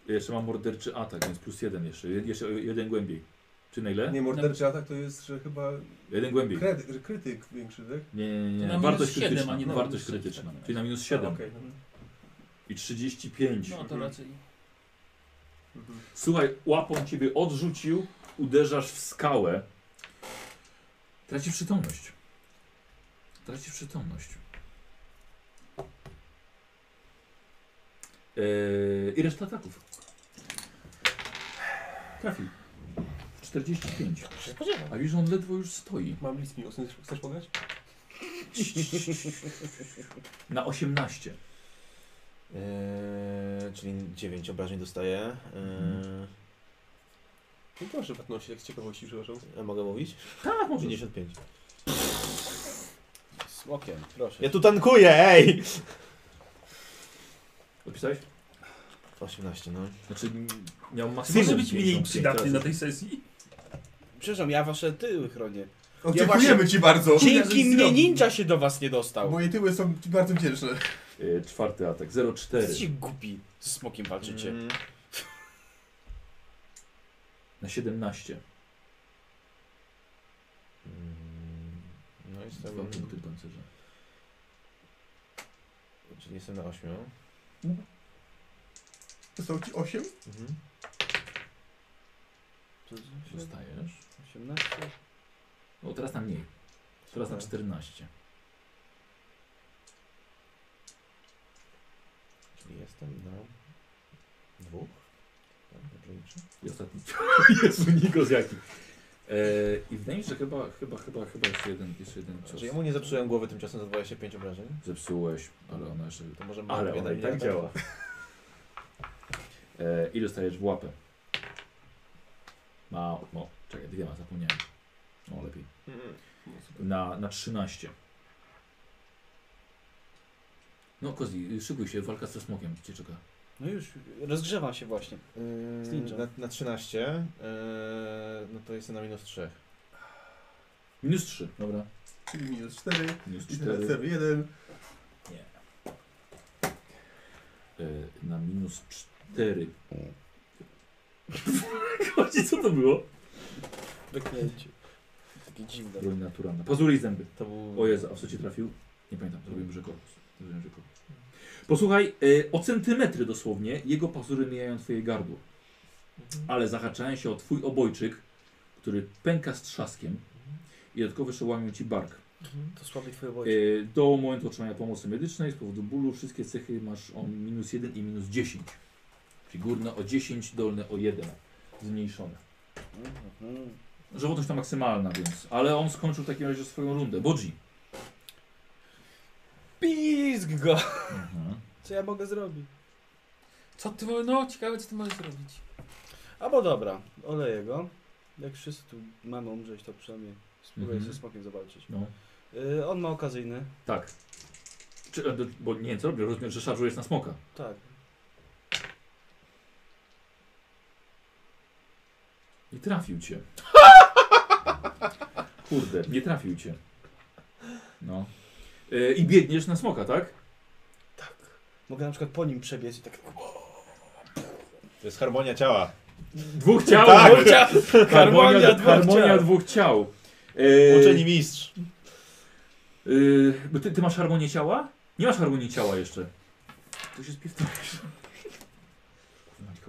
Speaker 1: Jeszcze mam morderczy atak, więc plus 1 jeszcze. Je- Jeszcze jeden głębiej. Czy na ile?
Speaker 2: Nie, morderczy atak to jest, że chyba
Speaker 1: Jeden głębiej.
Speaker 2: kredy, że krytyk większy, tak?
Speaker 1: Nie, nie, nie. nie.
Speaker 5: To na minus
Speaker 1: Wartość
Speaker 5: 7,
Speaker 1: krytyczna.
Speaker 5: a nie na
Speaker 1: Wartość
Speaker 5: minus 6,
Speaker 1: krytyczna.
Speaker 5: tak naprawdę.
Speaker 1: Czyli na minus 7.
Speaker 2: A, No, Okej. dobra.
Speaker 1: I 35.
Speaker 5: No to
Speaker 2: Mhm.
Speaker 5: raczej.
Speaker 2: Mhm.
Speaker 1: Słuchaj, łapą ciebie odrzucił, uderzasz w skałę. Tracisz przytomność. Tracisz przytomność. Eee, I reszta ataków. Trafił. 45. A widzisz, on ledwo już stoi.
Speaker 2: Mam list minus, chcesz pograć?
Speaker 1: Na 18.
Speaker 4: Eee, czyli 9 obrażeń dostaję. Eee,
Speaker 1: Mhm.
Speaker 2: No to masz przypadności, tak z ciekawości, przepraszam.
Speaker 4: a mogę mówić?
Speaker 1: Tak, może.
Speaker 4: 55.
Speaker 6: Smokiem, proszę.
Speaker 4: Ja tu tankuję, ej!
Speaker 1: Odpisałeś?
Speaker 4: 18, no.
Speaker 1: Znaczy m- miał
Speaker 5: Czy
Speaker 1: maksimum
Speaker 5: może być mniej
Speaker 1: 55
Speaker 5: przydatny
Speaker 1: razy.
Speaker 5: na tej sesji?
Speaker 3: Przepraszam, ja wasze tyły chronię.
Speaker 6: O,
Speaker 3: Ja
Speaker 6: dziękujemy
Speaker 3: właśnie-
Speaker 6: ci bardzo,
Speaker 5: Ci-
Speaker 3: Dzięki
Speaker 5: żeś
Speaker 3: mnie
Speaker 5: zrobił.
Speaker 3: ninja się do was nie dostał.
Speaker 6: moje tyły są ci bardzo wdzięczne.
Speaker 1: Y, Czwarty atak,
Speaker 3: Jesteście
Speaker 1: 0,4.
Speaker 3: głupi, ze smokiem walczycie.
Speaker 4: Mm.
Speaker 1: Na 17.
Speaker 4: Mm. No jestem...
Speaker 1: Dwa punkty pancerza.
Speaker 4: Czyli jestem na 8.
Speaker 6: Zostało ci 8?
Speaker 4: Mhm.
Speaker 1: Dostajesz.
Speaker 3: 18.
Speaker 1: O, teraz na mniej. Teraz na 14.
Speaker 4: Czyli jestem na... Dwóch? Tak, dobrze liczę.
Speaker 1: I ostatni. Jezu, Nikos jaki. E, I wydaje mi się, że chyba, chyba, chyba, chyba jeszcze jeden, jeszcze jeden cios.
Speaker 4: Czy ja mu nie zepsułem głowy tymczasem za 25 obrażeń?
Speaker 1: Zepsułeś, ale ona jeszcze...
Speaker 4: To możemy...
Speaker 1: Ale ona i tak działa. E, I dostajesz w łapę. Ma, no, czekaj, dwiema, zapomniałem. O, lepiej.
Speaker 4: Mm-hmm.
Speaker 2: No,
Speaker 1: Na, na 13. No, Kozi, szykuj się, walka ze smokiem cię czeka.
Speaker 3: No już, rozgrzewam się właśnie. Z
Speaker 4: Yy,
Speaker 3: ninja.
Speaker 4: na, na 13. Yy, no to jestem na minus 3.
Speaker 1: Minus 3, dobra.
Speaker 6: Czyli minus 4,
Speaker 1: Minus
Speaker 6: i teraz
Speaker 1: 4.
Speaker 6: 1.
Speaker 1: E, na minus 4. Kozi, co to było?
Speaker 3: Wyklęcie. Takie dziwne.
Speaker 1: Broń naturalna. Pazury i zęby.
Speaker 4: To był...
Speaker 1: O Jezu, a w co ci trafił? Nie pamiętam, zrobiłem że korpus. Zrobiłem, że korpus. Posłuchaj, e, o centymetry dosłownie jego pazury mijają twoje gardło,
Speaker 2: Mhm.
Speaker 1: ale zahaczają się o twój obojczyk, który pęka z trzaskiem i dodatkowo jeszcze łamią ci bark.
Speaker 3: To słabi twoje
Speaker 1: E,
Speaker 3: wojsko.
Speaker 1: do momentu otrzymania pomocy medycznej z powodu bólu wszystkie cechy masz o minus 1 i minus 10. Czyli górne o 10, dolne o 1. Zmniejszone.
Speaker 3: Mhm.
Speaker 1: Żywotność ta maksymalna, więc. Ale on skończył w takim razie swoją rundę. Bodzi.
Speaker 3: Pizg go!
Speaker 1: Mhm,
Speaker 3: Co ja mogę zrobić?
Speaker 7: Co ty, mo- no ciekawe co ty możesz zrobić.
Speaker 3: A bo dobra, oleję go. Jak wszyscy tu mamy umrzeć, to przynajmniej spróbuję
Speaker 1: Mhm.
Speaker 3: ze smokiem zobaczyć.
Speaker 1: No.
Speaker 3: Yy, on ma okazyjny.
Speaker 1: Tak. Czy, e, do- bo nie wiem co robię, rozumiem, że szarżujesz na smoka.
Speaker 3: Tak.
Speaker 1: Nie trafił cię. Kurde, nie trafił cię. No. E, I biegniesz na smoka, tak?
Speaker 3: Mogę na przykład po nim przebiec i tak...
Speaker 4: To jest harmonia ciała.
Speaker 1: Dwóch ciał.
Speaker 4: Tak.
Speaker 3: Harmonia dwóch
Speaker 1: harmonia
Speaker 3: ciał. Yy,
Speaker 1: dwóch ciał. E,
Speaker 4: Uczeni mistrz.
Speaker 1: e, bo ty, ty masz harmonię ciała? Nie masz harmonii ciała jeszcze. Tu się spiewtujesz.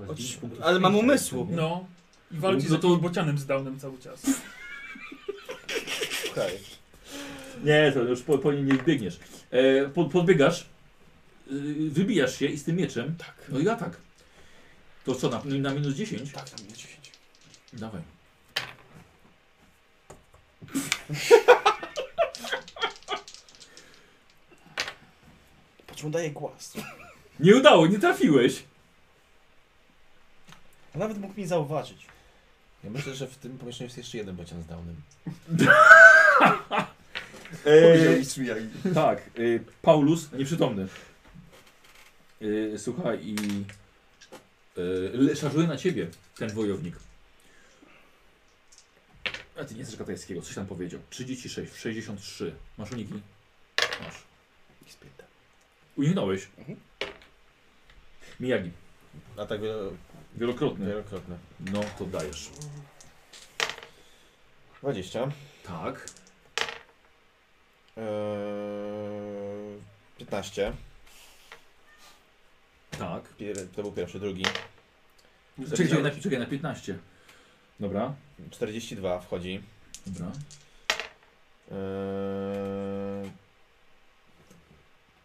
Speaker 3: Oczy- ale mam umysłu.
Speaker 7: No. I walczy
Speaker 1: No
Speaker 7: z
Speaker 1: to-
Speaker 7: jakimś bocianem z downem cały czas.
Speaker 4: Okej.
Speaker 1: Nie, to już po, po nim nie biegniesz. E, pod, podbiegasz, y, wybijasz się i z tym mieczem.
Speaker 3: Tak.
Speaker 1: No i atak. To co, na, na minus 10?
Speaker 3: Tak, tam jest 10.
Speaker 1: Dawaj.
Speaker 3: Po czym daje głaz.
Speaker 1: Nie udało, nie trafiłeś.
Speaker 3: A Nawet mógł mnie zauważyć.
Speaker 4: Ja myślę, że w tym pomieszczeniu jest jeszcze jeden bocian z downem.
Speaker 3: Yy,
Speaker 6: Powiedział Mitsuyagi.
Speaker 1: tak, e, Paulus nieprzytomny. E, słuchaj i... E, le- szarżuje na ciebie ten wojownik. A ty nie znasz Katajskiego, coś tam powiedział. 36, 63. Masz uniki? Masz.
Speaker 3: I spierdam.
Speaker 1: Uniknąłeś.
Speaker 3: Mhm.
Speaker 1: Miyagi.
Speaker 4: A tak wielo...
Speaker 1: Wielokrotny.
Speaker 4: wielokrotne.
Speaker 1: No to dajesz.
Speaker 4: 20.
Speaker 1: Tak.
Speaker 4: E, Eee, 15.
Speaker 1: Tak.
Speaker 4: Pier... To był pierwszy, drugi.
Speaker 1: Czekaj, czekaj, na, czekaj, na 15. Dobra.
Speaker 4: 42 wchodzi.
Speaker 1: Dobra.
Speaker 4: Eee,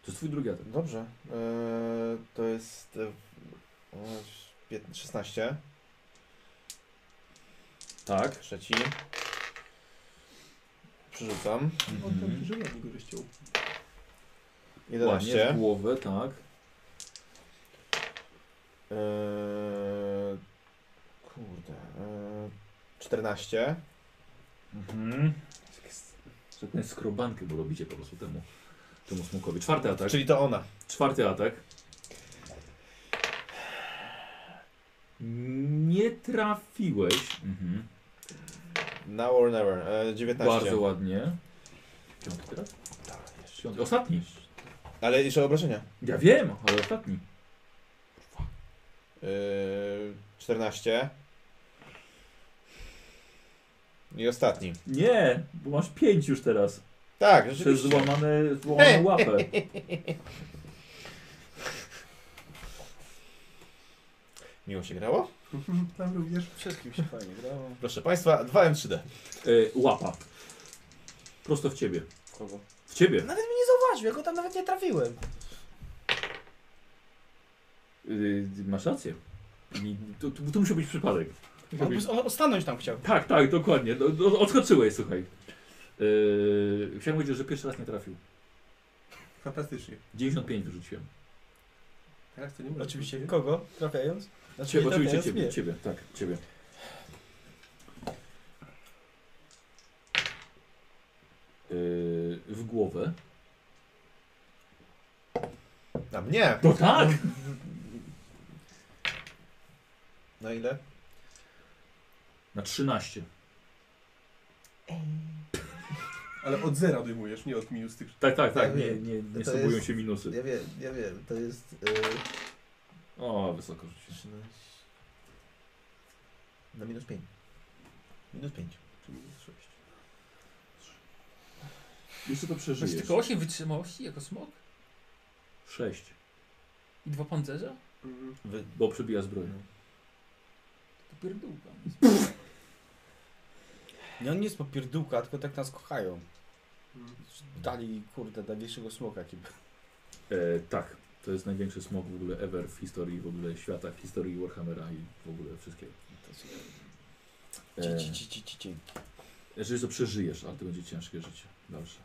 Speaker 1: To jest twój drugi atak.
Speaker 4: dobrze. Eee, to jest... e, e, pięt- 16.
Speaker 1: Tak.
Speaker 4: Trzeci. Przerzucam.
Speaker 2: On tam
Speaker 1: Mhm.
Speaker 2: pisze, że go żeś chciał.
Speaker 1: Ładnie w
Speaker 4: 11.
Speaker 1: głowę, tak.
Speaker 4: Eee, e, kurde. Eee, 14.
Speaker 1: Mhm. Że ten skrobankę, bo robicie po prostu temu, Tak. temu smokowi. Czwarty atak.
Speaker 4: Czyli to ona.
Speaker 1: Czwarty atak. Nie trafiłeś. Mhm.
Speaker 4: Now or never. E, 19.
Speaker 1: Bardzo ładnie. Piąty teraz? Piąty. Ostatni.
Speaker 4: Ale jeszcze obrażenia.
Speaker 1: Ja wiem, ale ostatni.
Speaker 4: E, 14. I ostatni.
Speaker 1: Nie, bo masz pięć już teraz.
Speaker 4: Tak,
Speaker 1: Przez
Speaker 4: rzeczywiście.
Speaker 1: złamane, złamaną łapę.
Speaker 4: Miło się grało.
Speaker 6: Tam również.
Speaker 3: Wszystkim się fajnie grało.
Speaker 4: Proszę Państwa, 2M3D.
Speaker 1: E, łapa. Prosto w ciebie.
Speaker 3: Kogo?
Speaker 1: W ciebie.
Speaker 8: Nawet mnie nie zauważył, ja go tam nawet nie trafiłem.
Speaker 1: Y, masz rację. I To, to, to musiał być przypadek. Musiał być...
Speaker 3: O, o, stanąć tam chciał.
Speaker 1: Tak, tak, dokładnie. No, no, Odskoczyłeś, słuchaj. Yy, chciałem powiedzieć, że pierwszy raz nie trafił.
Speaker 6: Fantastycznie.
Speaker 1: 95 wyrzuciłem.
Speaker 6: Teraz to nie może.
Speaker 8: Oczywiście, kogo trafiając? Znaczy,
Speaker 1: Ciebie,
Speaker 8: nie
Speaker 1: oczywiście
Speaker 8: trafiając
Speaker 1: ciebie,
Speaker 8: mnie.
Speaker 1: ciebie, tak, ciebie. Yy, w głowę.
Speaker 4: Na mnie.
Speaker 1: To tak!
Speaker 4: Na ile?
Speaker 1: Na 13.
Speaker 6: Ale od zera odejmujesz, nie od minus tych.
Speaker 1: Tak, tak, tak,
Speaker 8: Ja
Speaker 1: nie,
Speaker 8: wiem.
Speaker 1: nie, nie
Speaker 8: To
Speaker 1: sobują
Speaker 8: jest-
Speaker 1: się minusy.
Speaker 8: Ja wiem, ja wiem, to jest...
Speaker 4: e,
Speaker 1: O, wysoko rzuciłem.
Speaker 4: 13. Na minus 5. Minus 5.
Speaker 6: Czy minus sześć.
Speaker 1: Jeszcze to
Speaker 7: Masz
Speaker 1: przeżyjesz.
Speaker 7: tylko 8 wytrzymałości jako smok?
Speaker 1: 6,
Speaker 7: I dwa pancerza?
Speaker 6: Mhm.
Speaker 4: Wy...
Speaker 1: bo przebija zbroję.
Speaker 7: To pierdółka.
Speaker 3: Nie, on nie jest popierdółka, tylko tak nas kochają.
Speaker 6: Mhm.
Speaker 3: Dali, kurde, największego smoka, jaki był.
Speaker 1: E, tak, to jest największy smog w ogóle ever w historii w ogóle świata, w historii Warhammera i w ogóle wszystkiego. E,
Speaker 3: Ci, ci, ci, ci, ci, ci.
Speaker 1: jeżeli to przeżyjesz, ale to będzie ciężkie życie. Dobrze.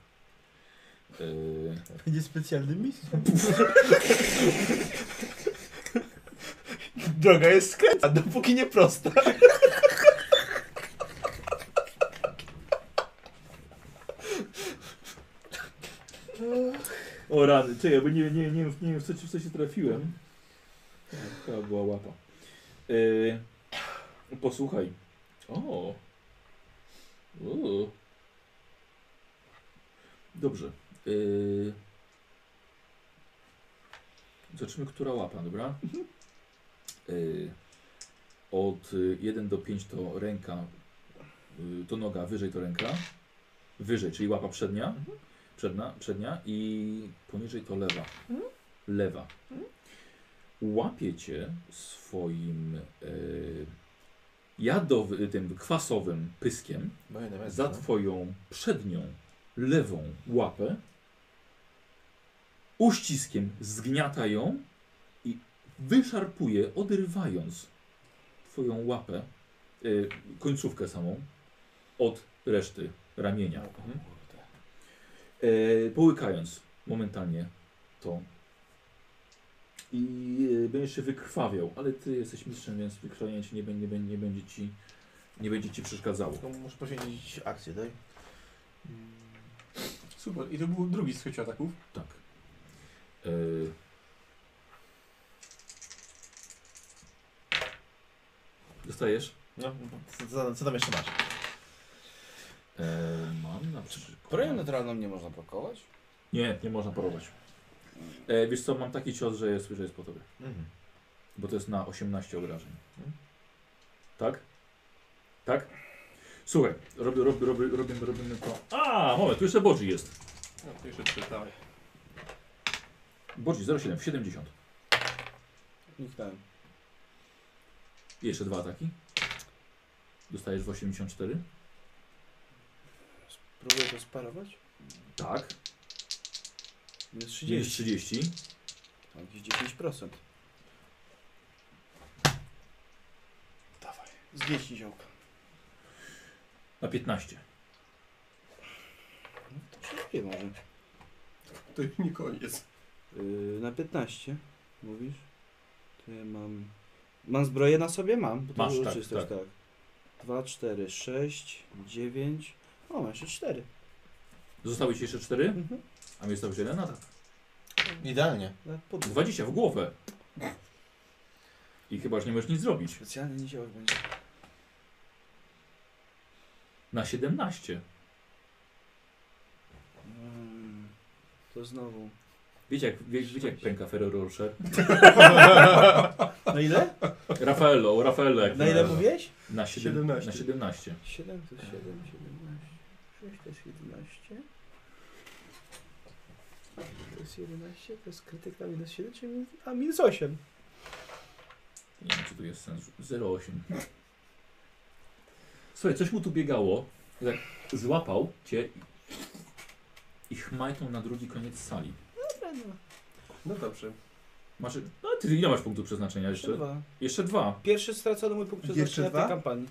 Speaker 1: E,
Speaker 8: Będzie specjalny mistrzem.
Speaker 3: Mhm.
Speaker 4: Droga jest skrętna, dopóki nie prosta.
Speaker 1: o rany, czekaj, bo nie, nie, nie, wiem, nie wiem w co, w co się trafiłem. To była łapa. E, posłuchaj. O. U. Dobrze. E, zobaczymy, która łapa, dobra? Y, od 1 do 5 to ręka, y, to noga, wyżej to ręka, wyżej, czyli łapa przednia, przedna, przednia i poniżej to lewa, lewa. Łapie cię swoim y, jadowym, tym kwasowym pyskiem
Speaker 4: Moje no. na
Speaker 1: za twoją przednią, lewą łapę, uściskiem zgniata ją i wyszarpuje, odrywając twoją łapę, y, końcówkę samą, od reszty ramienia.
Speaker 3: Mhm.
Speaker 1: Y, połykając momentalnie to. I y, będziesz się wykrwawiał, ale ty jesteś mistrzem, więc wykrwawienie ci nie, bę- nie, bę- nie będzie ci nie będzie ci przeszkadzało.
Speaker 4: Muszę poświęcić akcję, tak? daj.
Speaker 6: Mm. Super. I to był drugi z chociaż ataków.
Speaker 1: Tak. Y, Dostajesz?
Speaker 4: No, co, co, co tam jeszcze masz?
Speaker 1: E, mam na przykład.
Speaker 3: Broją naturalną nie można blokować?
Speaker 1: Nie, nie można parować. E, wiesz co, mam taki cios, że jest, że jest po tobie.
Speaker 4: Mhm.
Speaker 1: Bo to jest na 18 obrażeń. Tak? Tak? Słuchaj, robię, robię, robię, robimy, robimy to. A, moment, tu jeszcze Bodzi jest.
Speaker 6: No, to jeszcze trzy, dawaj.
Speaker 1: Bodzi 07, w 70.
Speaker 3: Niknąłem.
Speaker 1: I jeszcze dwa ataki. Dostajesz w 84.
Speaker 3: Próbuję to sparować?
Speaker 1: Tak.
Speaker 3: Minus Tak, 30.
Speaker 1: Minus 30.
Speaker 3: Tam jakieś 10%. Dawaj. Z 10 ziołka.
Speaker 1: Na 15.
Speaker 3: No to przeżyję może.
Speaker 6: To już nie koniec.
Speaker 3: Yy, na 15 mówisz? To ja mam... Mam zbroję na sobie? Mam. Bo to
Speaker 1: Masz,
Speaker 3: było
Speaker 1: tak,
Speaker 3: czystość, tak. 2, 4, 6, 9... O, mam jeszcze 4.
Speaker 1: Zostały ci jeszcze 4,
Speaker 3: Mhm.
Speaker 1: a mi został 1 atak.
Speaker 4: Idealnie.
Speaker 3: Na podwór.
Speaker 1: 20 w głowę. I chyba już nie możesz nic zrobić.
Speaker 3: Specjalny niziołek będzie.
Speaker 1: Na 17.
Speaker 3: Mm, to znowu.
Speaker 1: Wiecie jak, wie, wiecie jak pęka Ferrero Rocher?
Speaker 8: Na ile?
Speaker 1: Raffaello, Raffaello jak
Speaker 8: Na ile
Speaker 1: Ferrero.
Speaker 8: mówiłeś?
Speaker 1: Na
Speaker 6: 17.
Speaker 1: 17. Na 17.
Speaker 3: 7 to jest 7, 17. 6 to jest 11.
Speaker 8: To jest 11, to jest krytyk na minus 7, czyli minus, a minus 8.
Speaker 1: Nie wiem, czy tu jest sens. 0,8. Słuchaj, coś mu tu biegało. Tak złapał cię i chmajtnął na drugi koniec sali.
Speaker 6: No dobrze.
Speaker 1: Masz, no ty ile masz punktów przeznaczenia jeszcze?
Speaker 3: Dwa.
Speaker 1: Jeszcze dwa.
Speaker 3: Pierwszy stracony mój punkt
Speaker 6: Jeszcze
Speaker 3: przeznaczenia w tej
Speaker 6: dwa?
Speaker 3: kampanii.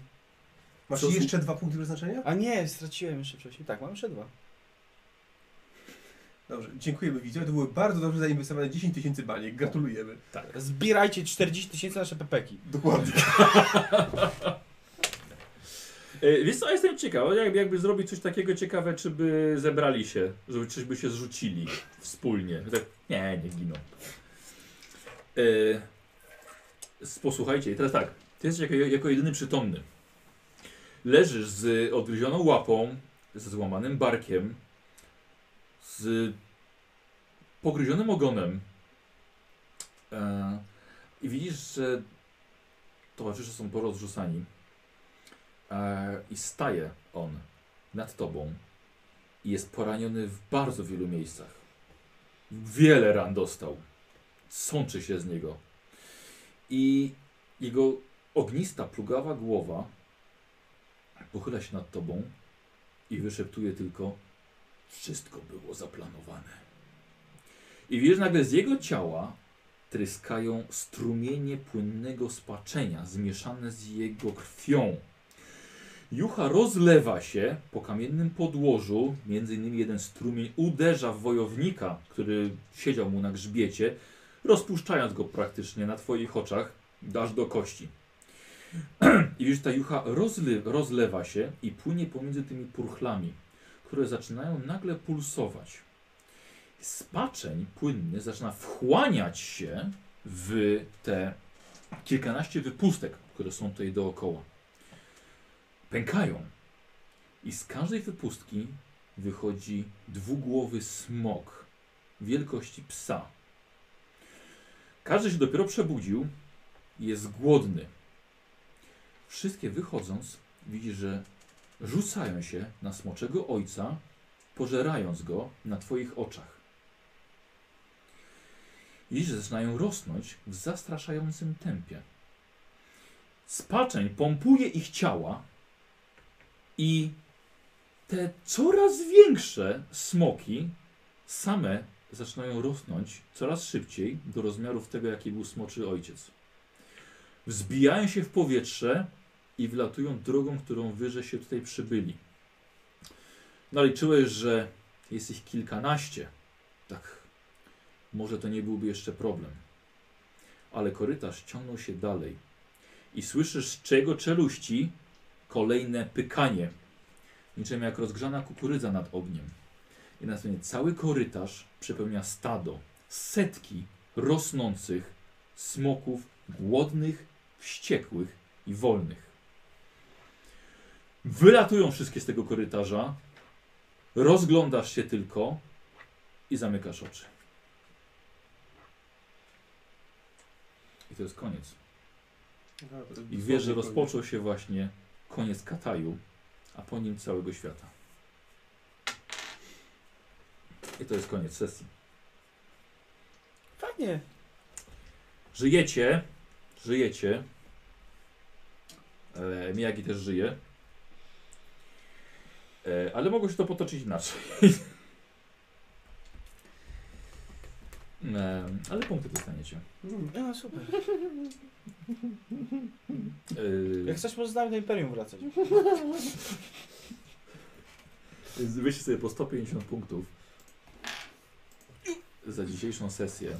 Speaker 6: Masz
Speaker 1: Co z-
Speaker 6: jeszcze dwa punkty przeznaczenia?
Speaker 3: A nie, straciłem jeszcze wcześniej. Tak, mam jeszcze dwa.
Speaker 6: Dobrze, dziękujemy widzowie. To były bardzo dobrze zainwestowane 10 tysięcy baniek. Gratulujemy.
Speaker 3: Zbierajcie 40 tysięcy na nasze pepeki.
Speaker 6: Dokładnie.
Speaker 1: E, Wiesz co, ja jestem ciekaw, jak, jakby zrobić coś takiego ciekawe, czy by zebrali się, żeby coś by się zrzucili wspólnie. Tak, nie, nie giną. E, s- posłuchajcie, i teraz tak, ty jesteś jako, jako jedyny przytomny. Leżysz z odgryzioną łapą, ze złamanym barkiem, z pogryzionym ogonem. E, I widzisz, że towarzysze są porozrzucani. E, I staje on nad tobą i jest poraniony w bardzo wielu miejscach. Wiele ran dostał. Sączy się z niego. I jego ognista, plugawa głowa pochyla się nad tobą i wyszeptuje tylko wszystko było zaplanowane. I wiesz, nagle z jego ciała tryskają strumienie płynnego spaczenia zmieszane z jego krwią. Jucha rozlewa się po kamiennym podłożu. Między innymi jeden strumień uderza w wojownika, który siedział mu na grzbiecie, rozpuszczając go praktycznie na twoich oczach, dasz do kości. I widzisz, ta jucha rozle rozlewa się i płynie pomiędzy tymi purchlami, które zaczynają nagle pulsować. Spaczeń płynny zaczyna wchłaniać się w te kilkanaście wypustek, które są tutaj dookoła pękają. I z każdej wypustki wychodzi dwugłowy smok wielkości psa. Każdy się dopiero przebudził i jest głodny. Wszystkie wychodząc, widzi, że rzucają się na smoczego ojca, pożerając go na Twoich oczach. Widzisz, że zaczynają rosnąć w zastraszającym tempie. Spaczeń pompuje ich ciała, i te coraz większe smoki same zaczynają rosnąć coraz szybciej do rozmiarów tego, jaki był smoczy ojciec. Wzbijają się w powietrze i wylatują drogą, którą wyże się tutaj przybyli. Naliczyłeś, że jest ich kilkanaście. Tak, może to nie byłby jeszcze problem. Ale korytarz ciągnął się dalej i słyszysz z czego czeluści kolejne pykanie, niczym jak rozgrzana kukurydza nad ogniem. I następnie cały korytarz przepełnia stado, setki rosnących smoków głodnych, wściekłych i wolnych. Wylatują wszystkie z tego korytarza, rozglądasz się tylko i zamykasz oczy. I to jest koniec.
Speaker 6: No,
Speaker 1: I wiesz, że rozpoczął się właśnie koniec Kataju, a po nim całego świata. I to jest koniec sesji.
Speaker 3: Fajnie.
Speaker 1: Żyjecie, żyjecie. E, Miyagi też żyje. E, ale mogło się to potoczyć inaczej. e, ale punkty dostaniecie.
Speaker 3: No super.
Speaker 1: E,
Speaker 3: Jak chcesz, możesz z nami do Imperium wracać.
Speaker 1: Więc Weźcie sobie po 150 punktów za dzisiejszą sesję.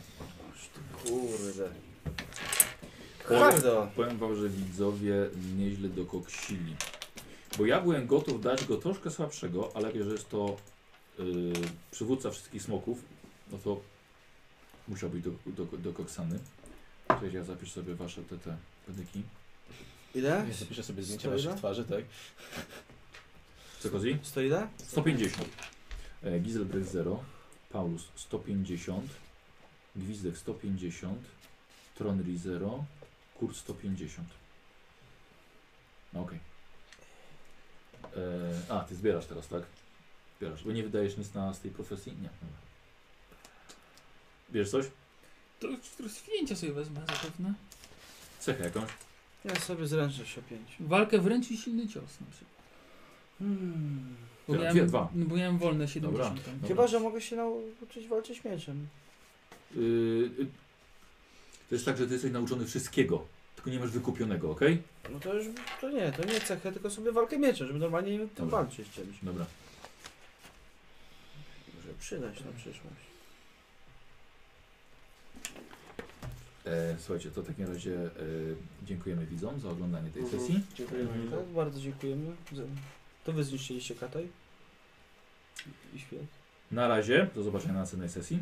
Speaker 3: Kurde.
Speaker 1: Powiem,
Speaker 3: Hardo.
Speaker 1: powiem wam, że widzowie nieźle dokoksili. Bo ja byłem gotów dać go troszkę słabszego, ale jako, że jest to yy, przywódca wszystkich smoków, no to musiał być do, do, dokoksany. Cześć, ja zapisz sobie wasze te, te pedyki.
Speaker 4: Ja
Speaker 3: Ile?
Speaker 4: zapiszę sobie zdjęcia
Speaker 3: Sto
Speaker 4: waszych
Speaker 3: ile?
Speaker 4: twarzy, tak?
Speaker 1: Co Kozi?
Speaker 3: Sto ile?
Speaker 1: 150. E, Giselbrecht 0. Paulus 150. Gwizdek 150. Tronri 0. Kurt 150. No, Okej. E, A, ty zbierasz teraz, tak? Zbierasz. Bo nie wydajesz nic na, z tej profesji? Nie. Dobra. Bierzesz coś?
Speaker 5: To rozwinięcia sobie wezmę zapewne.
Speaker 1: Cechę jakąś?
Speaker 3: Ja sobie zręczność o pięć.
Speaker 5: Walkę wręcz i silny cios na przykład.
Speaker 3: Hmm.
Speaker 5: Bo
Speaker 1: Dwie,
Speaker 5: miałem,
Speaker 1: dwa.
Speaker 5: No, bo miałem wolne 70.
Speaker 1: Dobra.
Speaker 3: Chyba, że mogę się nauczyć walczyć mieczem.
Speaker 1: Y, y, to jest tak, że ty jesteś nauczony wszystkiego, tylko nie masz wykupionego, okej?
Speaker 3: No to już, to nie, to nie cechę, tylko sobie walkę mieczem, żeby normalnie tym
Speaker 1: Dobra.
Speaker 3: walczyć czymś.
Speaker 1: Dobra.
Speaker 3: Może przydać na przyszłość.
Speaker 1: E, słuchajcie, to w takim razie e, dziękujemy widzom za oglądanie tej
Speaker 2: Mhm.
Speaker 1: sesji.
Speaker 2: Dziękujemy.
Speaker 3: Tak, bardzo dziękujemy. za- To wy zniszczyliście Kataj. I świat.
Speaker 1: Na razie, do zobaczenia na następnej sesji.